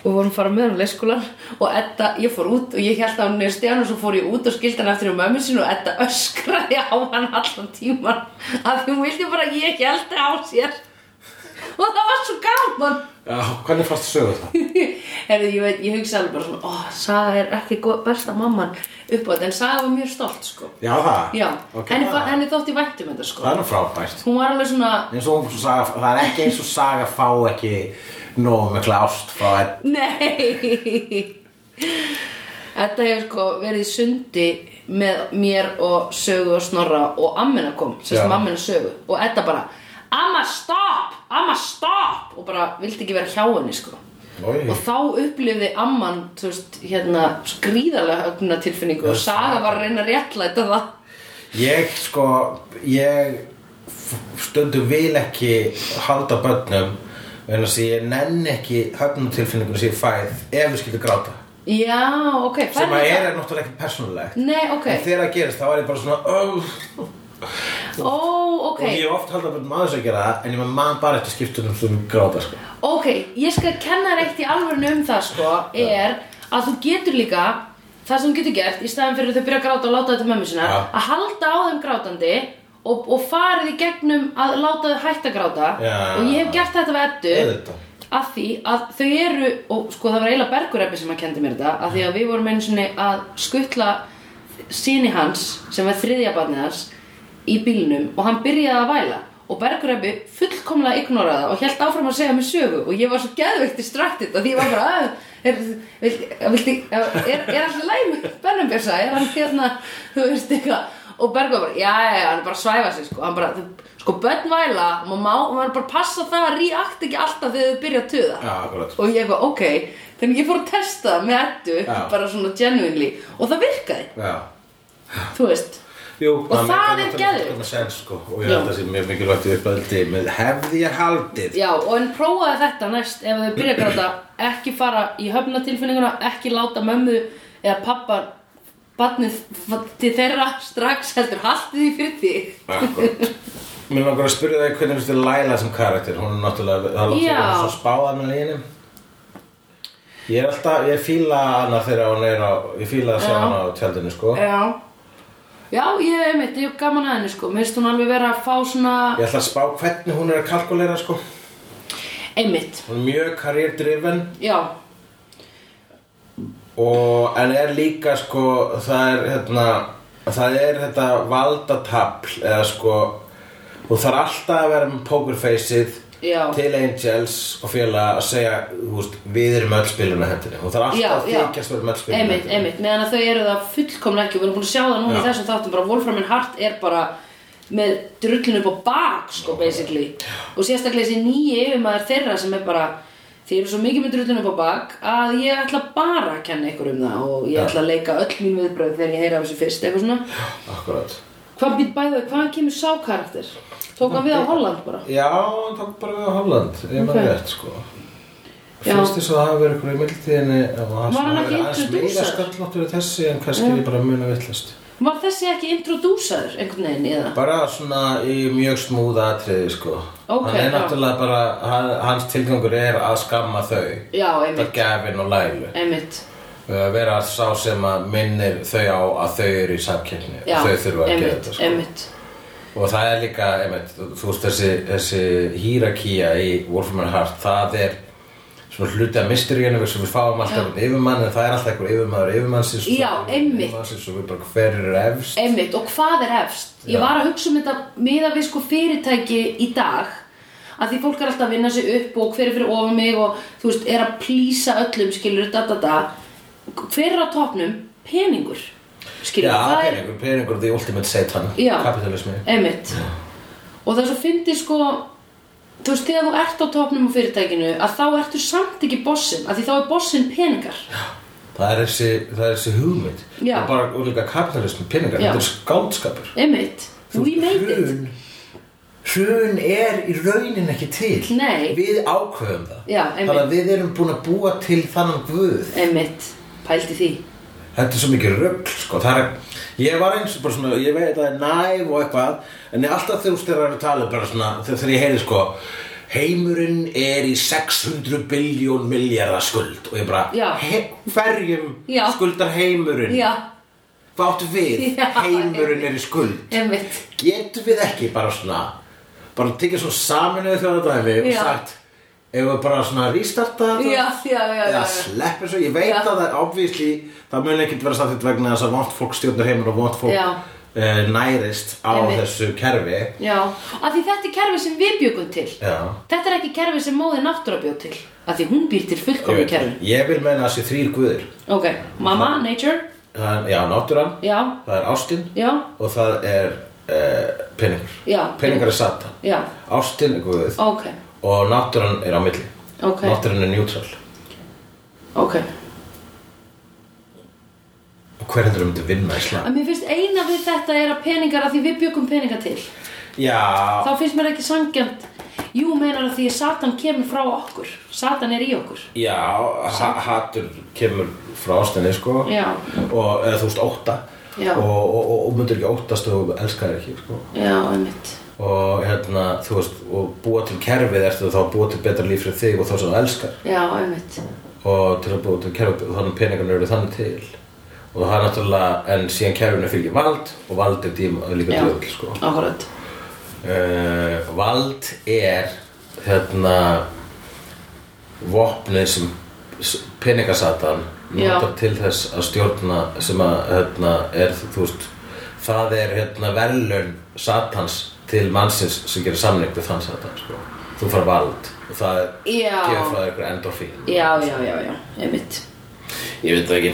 og vorum að fara með hana á leikskólan og Edda, ég fór út og ég held að hún niður stíðan og svo fór ég út og skildi hann eftir um mömmu sín og Edda öskraði á hann allan tíman af því hún vildi bara að ég held á sér og það var svo gaman Já, hvernig fannst þið sögur það? Herðu, ég veit, ég hugsa alveg bara svona, ó, Saga er ekki góð, besta mamman upp á þetta, en Saga var mjög stolt, sko. Já, það? Já, Ok. henni, fa- henni þótti vænt um þetta, Það sko. er nú frábært Hún var alveg svona, eins og hún saga, það er ekki eins og saga fá ekki nógu mikla ást frá henn nei, þetta hefur sko verið í sundi með mér og sögu og snorra og ammina kom, sérst Já. mammina sögu, og Edda bara, amma stopp, amma stopp, og bara vildi ekki vera hjá henni, sko. Oj. og þá upplifði amman þú veist, hérna, skrýðarlega ögna tilfinningu og Saga var að reyna að réttlæta það Ég sko, ég f- stundum vil ekki halda börnum en þess að ég nenni ekki höfnum tilfinningunum sem ég fæð ef við skilum gráta já, ok, sem að færðu er það? er náttúrulega ekki persónulegt nei, ok, en þegar það gerist þá er ég bara svona oh, ó, ok og ég hef oft halda börnum aðeins að gera það en ég með mann bara eftir skiptunum sem gráta sko. ok, ég skal kenna þér eitt í alvörinu um það sko, er að þú getur líka það sem þú getur gert, í staðan fyrir að þau byrja að gráta og láta þetta mömmu sinna, Já. að halda á þeim grátandi og, og farið í gegnum að láta þau hætta að gráta Já. og ég hef gert þetta við Eddu Auðvitað. að því að þau eru og sko það var eiginlega bergureppi sem að kendi mér þetta að því að við vorum einu sinni að skuttla síni hans sem var þriðja barnið hans í bílnum og hann byrjaði að væla og bergureppi fullkomlega ignoraði það og held áfram að segja mig sögu og ég var svo geðveikt distraktið og því ég var bara að, er, vil, vilti, er, er allir læm Bernambjörsa, er hann hérna þú veist eitthvað og Bergur bara, já, já, já, hann er bara að svæfa sig sko, hann bara, þau- sko, börn væla maður má, maður bara passa það að react ekki alltaf þegar þau byrja að tuða Já, akkurat. og ég bara, ok, þannig ég fór að testa það með ettu, Já. bara svona genuinely og það virkaði, Já. þú veist Jú, Og það er geðveikt. sen, sko. og ég Já. held að það sé mjög mikilvægt í uppöldi með hefði ég haldið Já, og en prófaði þetta næst ef þau byrja að gráta, ekki fara í höfnatilfinninguna, ekki láta mömmu eða pappa barnið f- til þeirra strax heldur haldið því fyrir því Akkurat. Mér langar að spyrja þig hvernig finnst þér Laila sem karakter, hún er náttúrulega, það er Já. náttúrulega svo spáðað með leginum. Ég er alltaf, ég fíla hana þegar hún er á, ég fíla að sjá Já. hana á tjaldinu sko. Já Já, ég hef einmitt, ég hef gaman að henni sko, mér finnst hún alveg vera að fá svona Ég ætla að spá hvernig hún er að kalkulera sko. einmitt, Hún er mjög karrierdriven já, og, en er líka sko, það er hérna, það er þetta valdatapl eða sko, hún þarf alltaf að vera með pokerfaceið já til Angels og félaga að segja þú veist, við erum öll spilun að hendinni og það er Já, alltaf já. að þykjast vera með öll spilun Einmitt, einmitt, meðan að þau eru það fullkomlega ekki og við erum búin að sjá það núna í Já. þessum þáttum bara Wolfram and Hart er bara með drullin upp á bak sko basically og sérstaklega þessi nýji yfirmaður þeirra sem er bara þið eru svo mikið með drullin upp á bak að ég ætla bara að kenna ykkur um það og ég ætla að leika öll mín viðbröð þegar ég heyra af þessu fyrst eitthvað svona Akkurat hvað býtt bæðu, hvaðan kemur sá karakter? Tók hann við á Holland bara? Já, hann tók bara við á Holland ef maður Ok. rétt sko Já. Fyrst þess að það hafi verið ykkur í mildtíðinni Var hann ekki meira introducer? skalláttur í þessi en kannski er ég bara muna villast Var þessi ekki introdúsaður einhvern veginn eða? Bara svona í mjög smúða atriði sko Ok, Hann er já. náttúrulega bara, hann, hans tilgangur er að skamma þau Já, Það er einmitt, Gavin og Lælu einmitt að vera sá sem að minnir þau á að þau eru í samkeppni Já, og þau þurfa að gera einmitt, þetta sko. einmitt og það er líka, einmitt, þú veist þessi, þessi hýrakía í Wolfram and Hart það er svona hluti af mysteríunum sem við fáum alltaf einhvern yfirmann en það er alltaf einhver yfirmaður yfirmannsins og Já, svo- einmitt. yfirmannsins og við bara hver er efst Einmitt, og hvað er efst? Ég Já. var að hugsa um þetta miða við sko fyrirtæki í dag að því fólk er alltaf að vinna sig upp og hver er fyrir ofan mig og þú veist, er að plýsa öllum, skilur, da da da Hver er á topnum? Peningur Skilur, Já, það er peningur, peningur, the ultimate satan Já. kapitalismi Einmitt Og það er svo fyndi sko Þú veist, þegar þú ert á topnum á fyrirtækinu að þá ertu samt ekki bossinn að því þá er bossinn peningar það er þessi, það er þessi hugmynd Já. og bara og líka kapitalismi, peningar, Já. þetta er skáldskapur Einmitt, we made it Hrun- Hrun er í raunin ekki til Nei. Við ákveðum það Já, einmitt. Þannig að við erum búin að búa til þannan guð Einmitt, pældi því Þetta er svo mikið rögl sko. Það er, Ég var eins og bara svona Ég veit að það er næf og eitthvað En ég alltaf þegar þú styrir að tala bara svona, Þegar þegar ég heyri sko Heimurinn er í 600 biljón miljardar skuld Og ég bara Já. he, Hverjum Já. skuldar heimurinn Já, Hvað áttu við? Já, heimurinn er í skuld einmitt Getum við ekki bara svona bara tekið svona saminuðu þjóðardæmi og Já. sagt ef við bara svona restarta þetta já, já, já, já, eða já. sleppur svo, ég veit Já. að það er obvísli það mun ekkert vera samþýtt vegna þess að vant fólk stjórnar heimur og vant fólk Já. uh, nærist á Einmitt. þessu kerfi Já, af því þetta er kerfi sem við bjögum til Já. Þetta er ekki kerfi sem móði náttúra bjóð til Af því hún býr til fullkomlu kerfi Ég vil meina þessi þrýr guðir Ok, mamma, nature, það er, Já, náttúran, já, það er ástin já, og það er uh, peningur já Peningur er satan Já, Ástin er guðið ok, og náttúran er á milli ok, Náttúran er neutral ok Og hvernig þú myndir vinna í slag En mér finnst eina við þetta er að peningar af því við bjögum peninga til Já, Þá finnst mér ekki sangjant Jú, meinar að því að Satan kemur frá okkur Satan er í okkur já, ha hattur kemur frá ástinni sko Já, og eða þú veist ótta Já. og, og, og, og myndir ekki óttast og elskar ekki sko. já, einmitt og hérna þú veist og búa til kerfið ertu þá að búa til betra líf fyrir þig og þá sem þú elskar Já, einmitt og til að búa til kerfið og þannig peningarnir eru þannig til og það er náttúrulega en síðan kerfinu fylgir vald og vald er díma, líka Já. djöðl sko. Akkurat uh, vald er hérna vopnið sem s- peningasatan Já. notar til þess að stjórna sem að hérna er þú veist það er hérna verðlaun satans til mannsins sem gerir samning við þann satan sko. þú fara vald og það Já. gefur frá þér ykkur endorfín Já, já, já, já, einmitt ég veit það ekki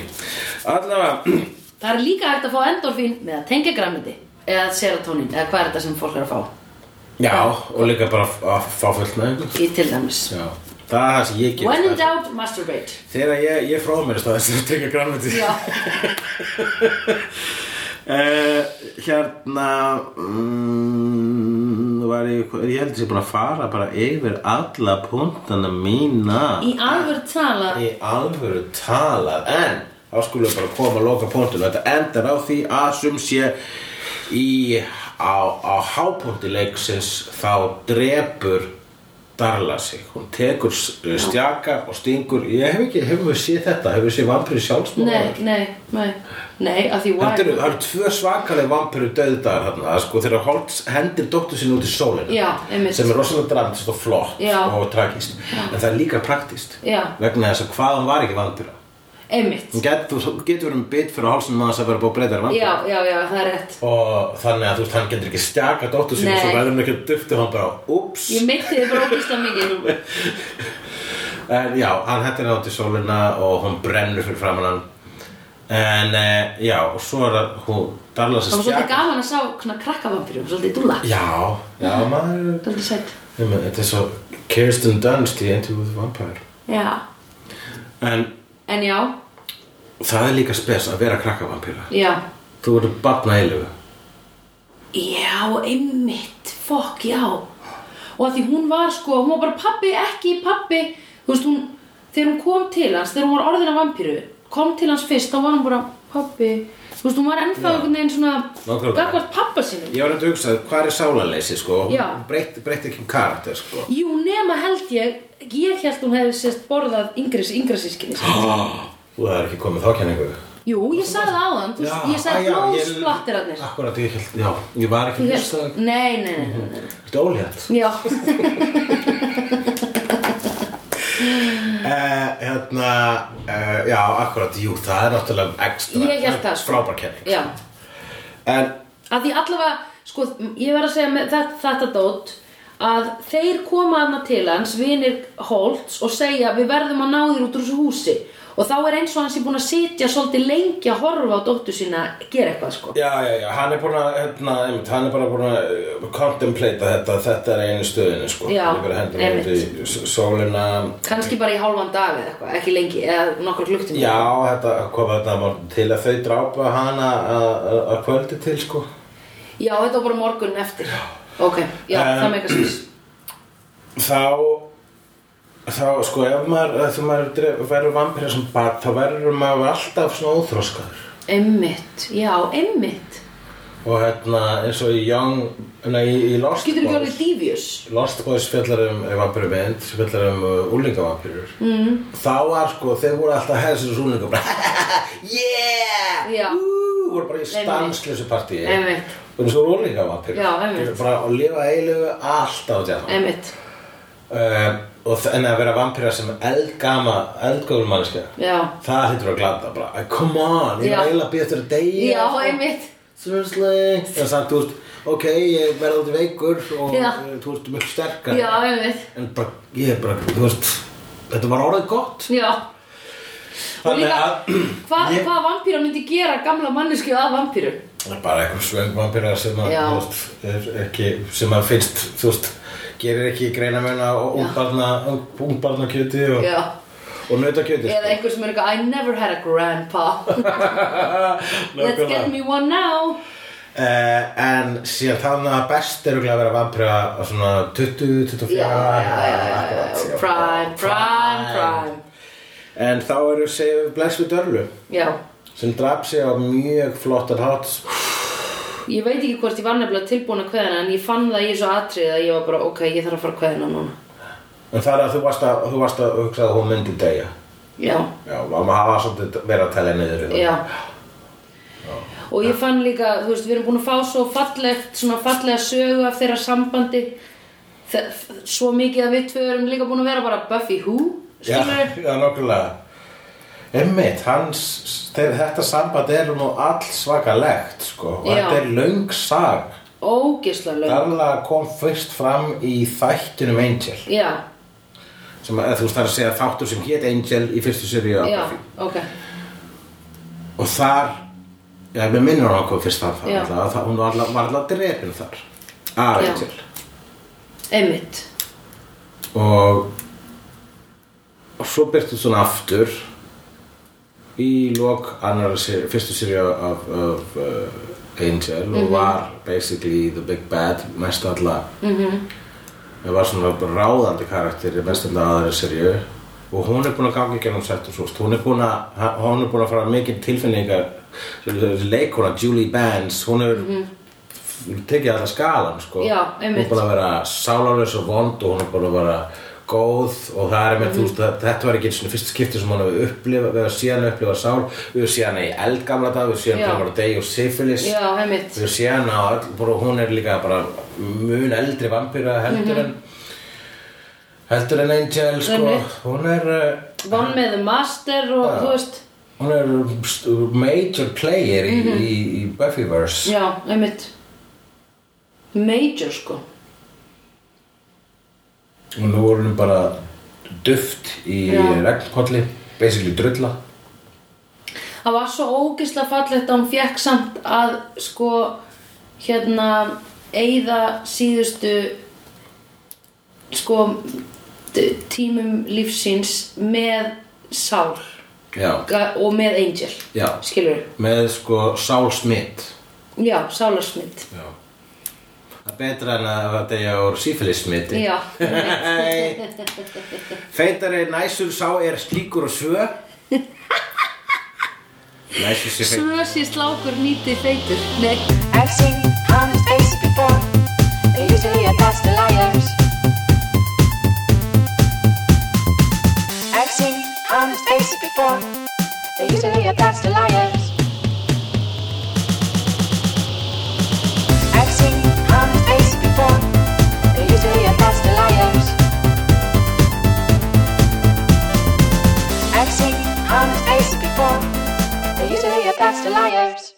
allavega Það er líka hægt að fá endorfín með að tengja græmiti eða serotonin, eða hvað er þetta sem fólk er að fá já og líka bara f- að fá fullt með í til dæmis já það er það sem ég When gerir in doubt, masturbate þegar ég, ég fróð mér þess að tengja grænmeti Já, Uh, hérna mm, var ég, ég held að ég búin að fara bara yfir alla punktana mína í alvöru tala í alvöru talað en þá skulum við bara koma að loka punktinu þetta endar á því að sum sé í á, á hápunkti leiksins þá drepur Darla sig, hún tekur s- stjaka og stingur, ég hef ekki, hefur við séð þetta, hefur við séð vampir sjálfsmóð Nei, nei, nei Nei, að því Þetta eru, why það eru tvö svakaleg vampiru döðdagar þarna, sko, þegar Holt hendir dóttur sinni út í sólina Já, einmitt. sem er rosalega dramatist og flott Já. og tragist, en það er líka praktist Já. vegna þess að hvað hún var ekki vampira Einmitt hún get, þú þú getur verið um bit fyrir hálsinn maður að vera búið að breyta þér vampira Já, já, já, það er rétt og þannig að þú veist, hann getur ekki stjaka dóttur sinni Nei. svo verður hann ekki að dufti hann bara, ups Ég meitti þið bara ógislega mikið En já, hann hendir hann átt í sólina og hún brennur fyrir framan hann en eh, já, og svo er það hún darla Það var sér svolítið stjaka gaman að sá svona krakkavampirum, svolítið dúlla Já, já, maður Svolítið sætt Nei, menn, Þetta er svo Kirsten Dunst í Into the Vampire Já En En já, það er líka spes að vera krakkavampíra já Þú eru barna eilöfu Já, einmitt, fokk, já Og að því hún var sko, hún var bara pappi, ekki pappi Þú veist, hún, þegar hún kom til hans, þegar hún var orðin að vampiru Kom til hans fyrst, þá var hún bara pappi Þú veist, hún var ennþá einhvern veginn svona Nákvæmlega. Gagvart pappa sínum Ég var hægt að hugsa hvað er sálanleysi sko Hún Já. breytti breytt ekki um karakter sko Jú, nema held ég, ég held hún hefði sérst borðað yngri, yngra sískinni sín. Þú það er ekki komið þá kenningu Jú, ég sagði það áðan, þú veist, ég sagði blóðsplattirarnir. Akkurat, ég held, já, Ah, ég var ekki Þú að veist, hlusta það Nei, nei, nei, nei, nei. Þetta er ólétt Já, Eh, Hérna, eh, já, akkurat, jú, það er náttúrulega ekstra Ég hélt það, sko. Frábær kenning já. En, Að því allavega, sko, ég verð að segja með þetta, þetta dót að þeir koma aðna til hans, vinir Holtz og segja við verðum að ná þér út úr þessu húsi og þá er eins og hann sé búin að sitja svolítið lengi að horfa á dóttur sína að gera eitthvað, sko. Já, já, já, hann er búin að, hérna, einmitt, hann er bara búin að uh, contemplata þetta, þetta er einu stöðinu, sko. Já, Ég bara hendur mér einmitt. út í s- sólina. Kannski bara í hálfan dag eða eitthvað, ekki lengi, eða nokkur klukktum. Já, þetta, hvað var þetta, var til að þau drápa hana að- að að kvöldi til, sko. Já, þetta var bara morgun eftir Ok, já, Um, það meika sens Þá, þá, sko, ef maður, þegar maður dref- verður vampira sem barn, þá verður maður alltaf svona óþróskaður. Einmitt, já, einmitt Og hérna, eins og í Young, hérna, í, í Lost Getur ekki Boys- orðið dífjus Lost Boys fjallar um vampiru mynd sem fjallar um uh, úlingavampirur mm. þá var sko, þeir voru alltaf að hefða sér úlinga bara yeah, Já. Ú, voru bara Nei, í nei. stanslösu partíi Einmitt. og eins og rólinga var Já, einmitt. bara að lifa eiginlegu alltaf djá Einmitt, uh, og þ- en að vera vampýra sem eldgama eldgóður mannskja já það hittur að glata bara "Æ, come on, ég Já. er eiginlega betur að deyja Já, sko." einmitt seriously en samt, þú veist, ok, ég verði aldrei veikur og Já. eh, þú veist, mjög sterkar Já, einmitt en bara, ég er bara, þú veist þetta var orðið gott Já Og Þannig líka, að- hvað, Ég- hvað vampýra myndi gera gamla mannesku að vampýru? Það er bara einhver svöngvampýra sem að, Já. þú veist, er ekki, sem að finnst, þú veist, gerir ekki greinamun á ungbarna, ungbarna kjöti og, Já sko- og nautakjöti. sko. Eða einhver sem er eitthvað, I never had a grandpa Let's get me one now Uh, en síðan þannig að best er örugglega að vera vampýra á svona 20, 24 Já, já, já, já, já, akkurat, já. Prime, prime, prime En þá eru segjum bless við dörlu Já sem draf sig á mjög flottan hátt Ég veit ekki hvort ég var nefnilega tilbúin að kveðina en ég fann það í þessu atrið að ég var bara ok, ég þarf að fara að kveðina núna en það er að þú varst að, þú varst að hugsa að hún myndi degja Já, Já, maður hafa svolítið verið að telja niður í það. já Og ég fann líka, þú veist, við erum búin að fá svo fallegt, svona fallega sögu af þeirra sambandi Þe- Svo mikið að við tvö erum líka búin að vera bara Buffy who? Já, Skilur? já, nokkulega Einmitt, hans, þeir, þetta samband er nú all svakalegt sko, og Já. þetta er löng sag Ógeðslega lög Darla kom fyrst fram í þættinum Angel Já, sem að, þú veist það er að segja þáttur sem hét Angel í fyrstu seríu af já, Buffy. ok og þar já, mér minnur hún okkur fyrst þar Já. þar alltaf, að hún var alltaf, var alltaf drepin þar að Já. Angel Einmitt og og svo byrtu svona aftur í lok annar seri, fyrstu seri af, af uh, Angel Mhm. og var basically the big bad mest alla mm Mhm. -hmm. var svona ráðandi karakter í mest alla aðra seri og hún er búin að ganga í gegnum sett og svo hún er búin að, hún er búin að fara mikið tilfinningar leikona Julie Benz hún er tekið alltaf skalan sko. Mhm. Já, hún er einmitt. búin að vera sálarlaus og vond og hún er búin að vera góð og það er með þú Mm. veist að þetta var ekki svona fyrsta skipti sem hún hefur upplifað við hefur síðan upplifað sál við hefur síðan í eldgamla dag við hefur síðan Já. þegar hún var að deyja og syfilis Já, einmitt við hefur síðan á öll bara, hún er líka bara mun eldri vampýra Mhm. heldur en heldur en Angel sko. Einmitt. hún er uh, Von með the master og Já. þú veist hún er st- major player í, í, í Buffyverse Mhm. Já, einmitt Major sko og nú voru hún bara duft í Já. regnkolli basically drulla Það var svo ógeðslega fallegt að hún fekk samt að sko hérna eigða síðustu sko t- tímum lífsins með sál já, ga- og með angel já, skilur með sko Sál Smith já, sálarsmynd já það er betra en að það deyja úr sífilis smiti já, feitari næsur sá er slíkur og svö næsur sé feitur svo sé slákur nýtið feitur nei, I've seen honest faces before. They're usually a pass to liars. I've seen honest faces before. They're usually a pass to liars. I've seen honest faces before. They're usually a pass to liars. I've seen honest faces before. They're usually a pass to liars.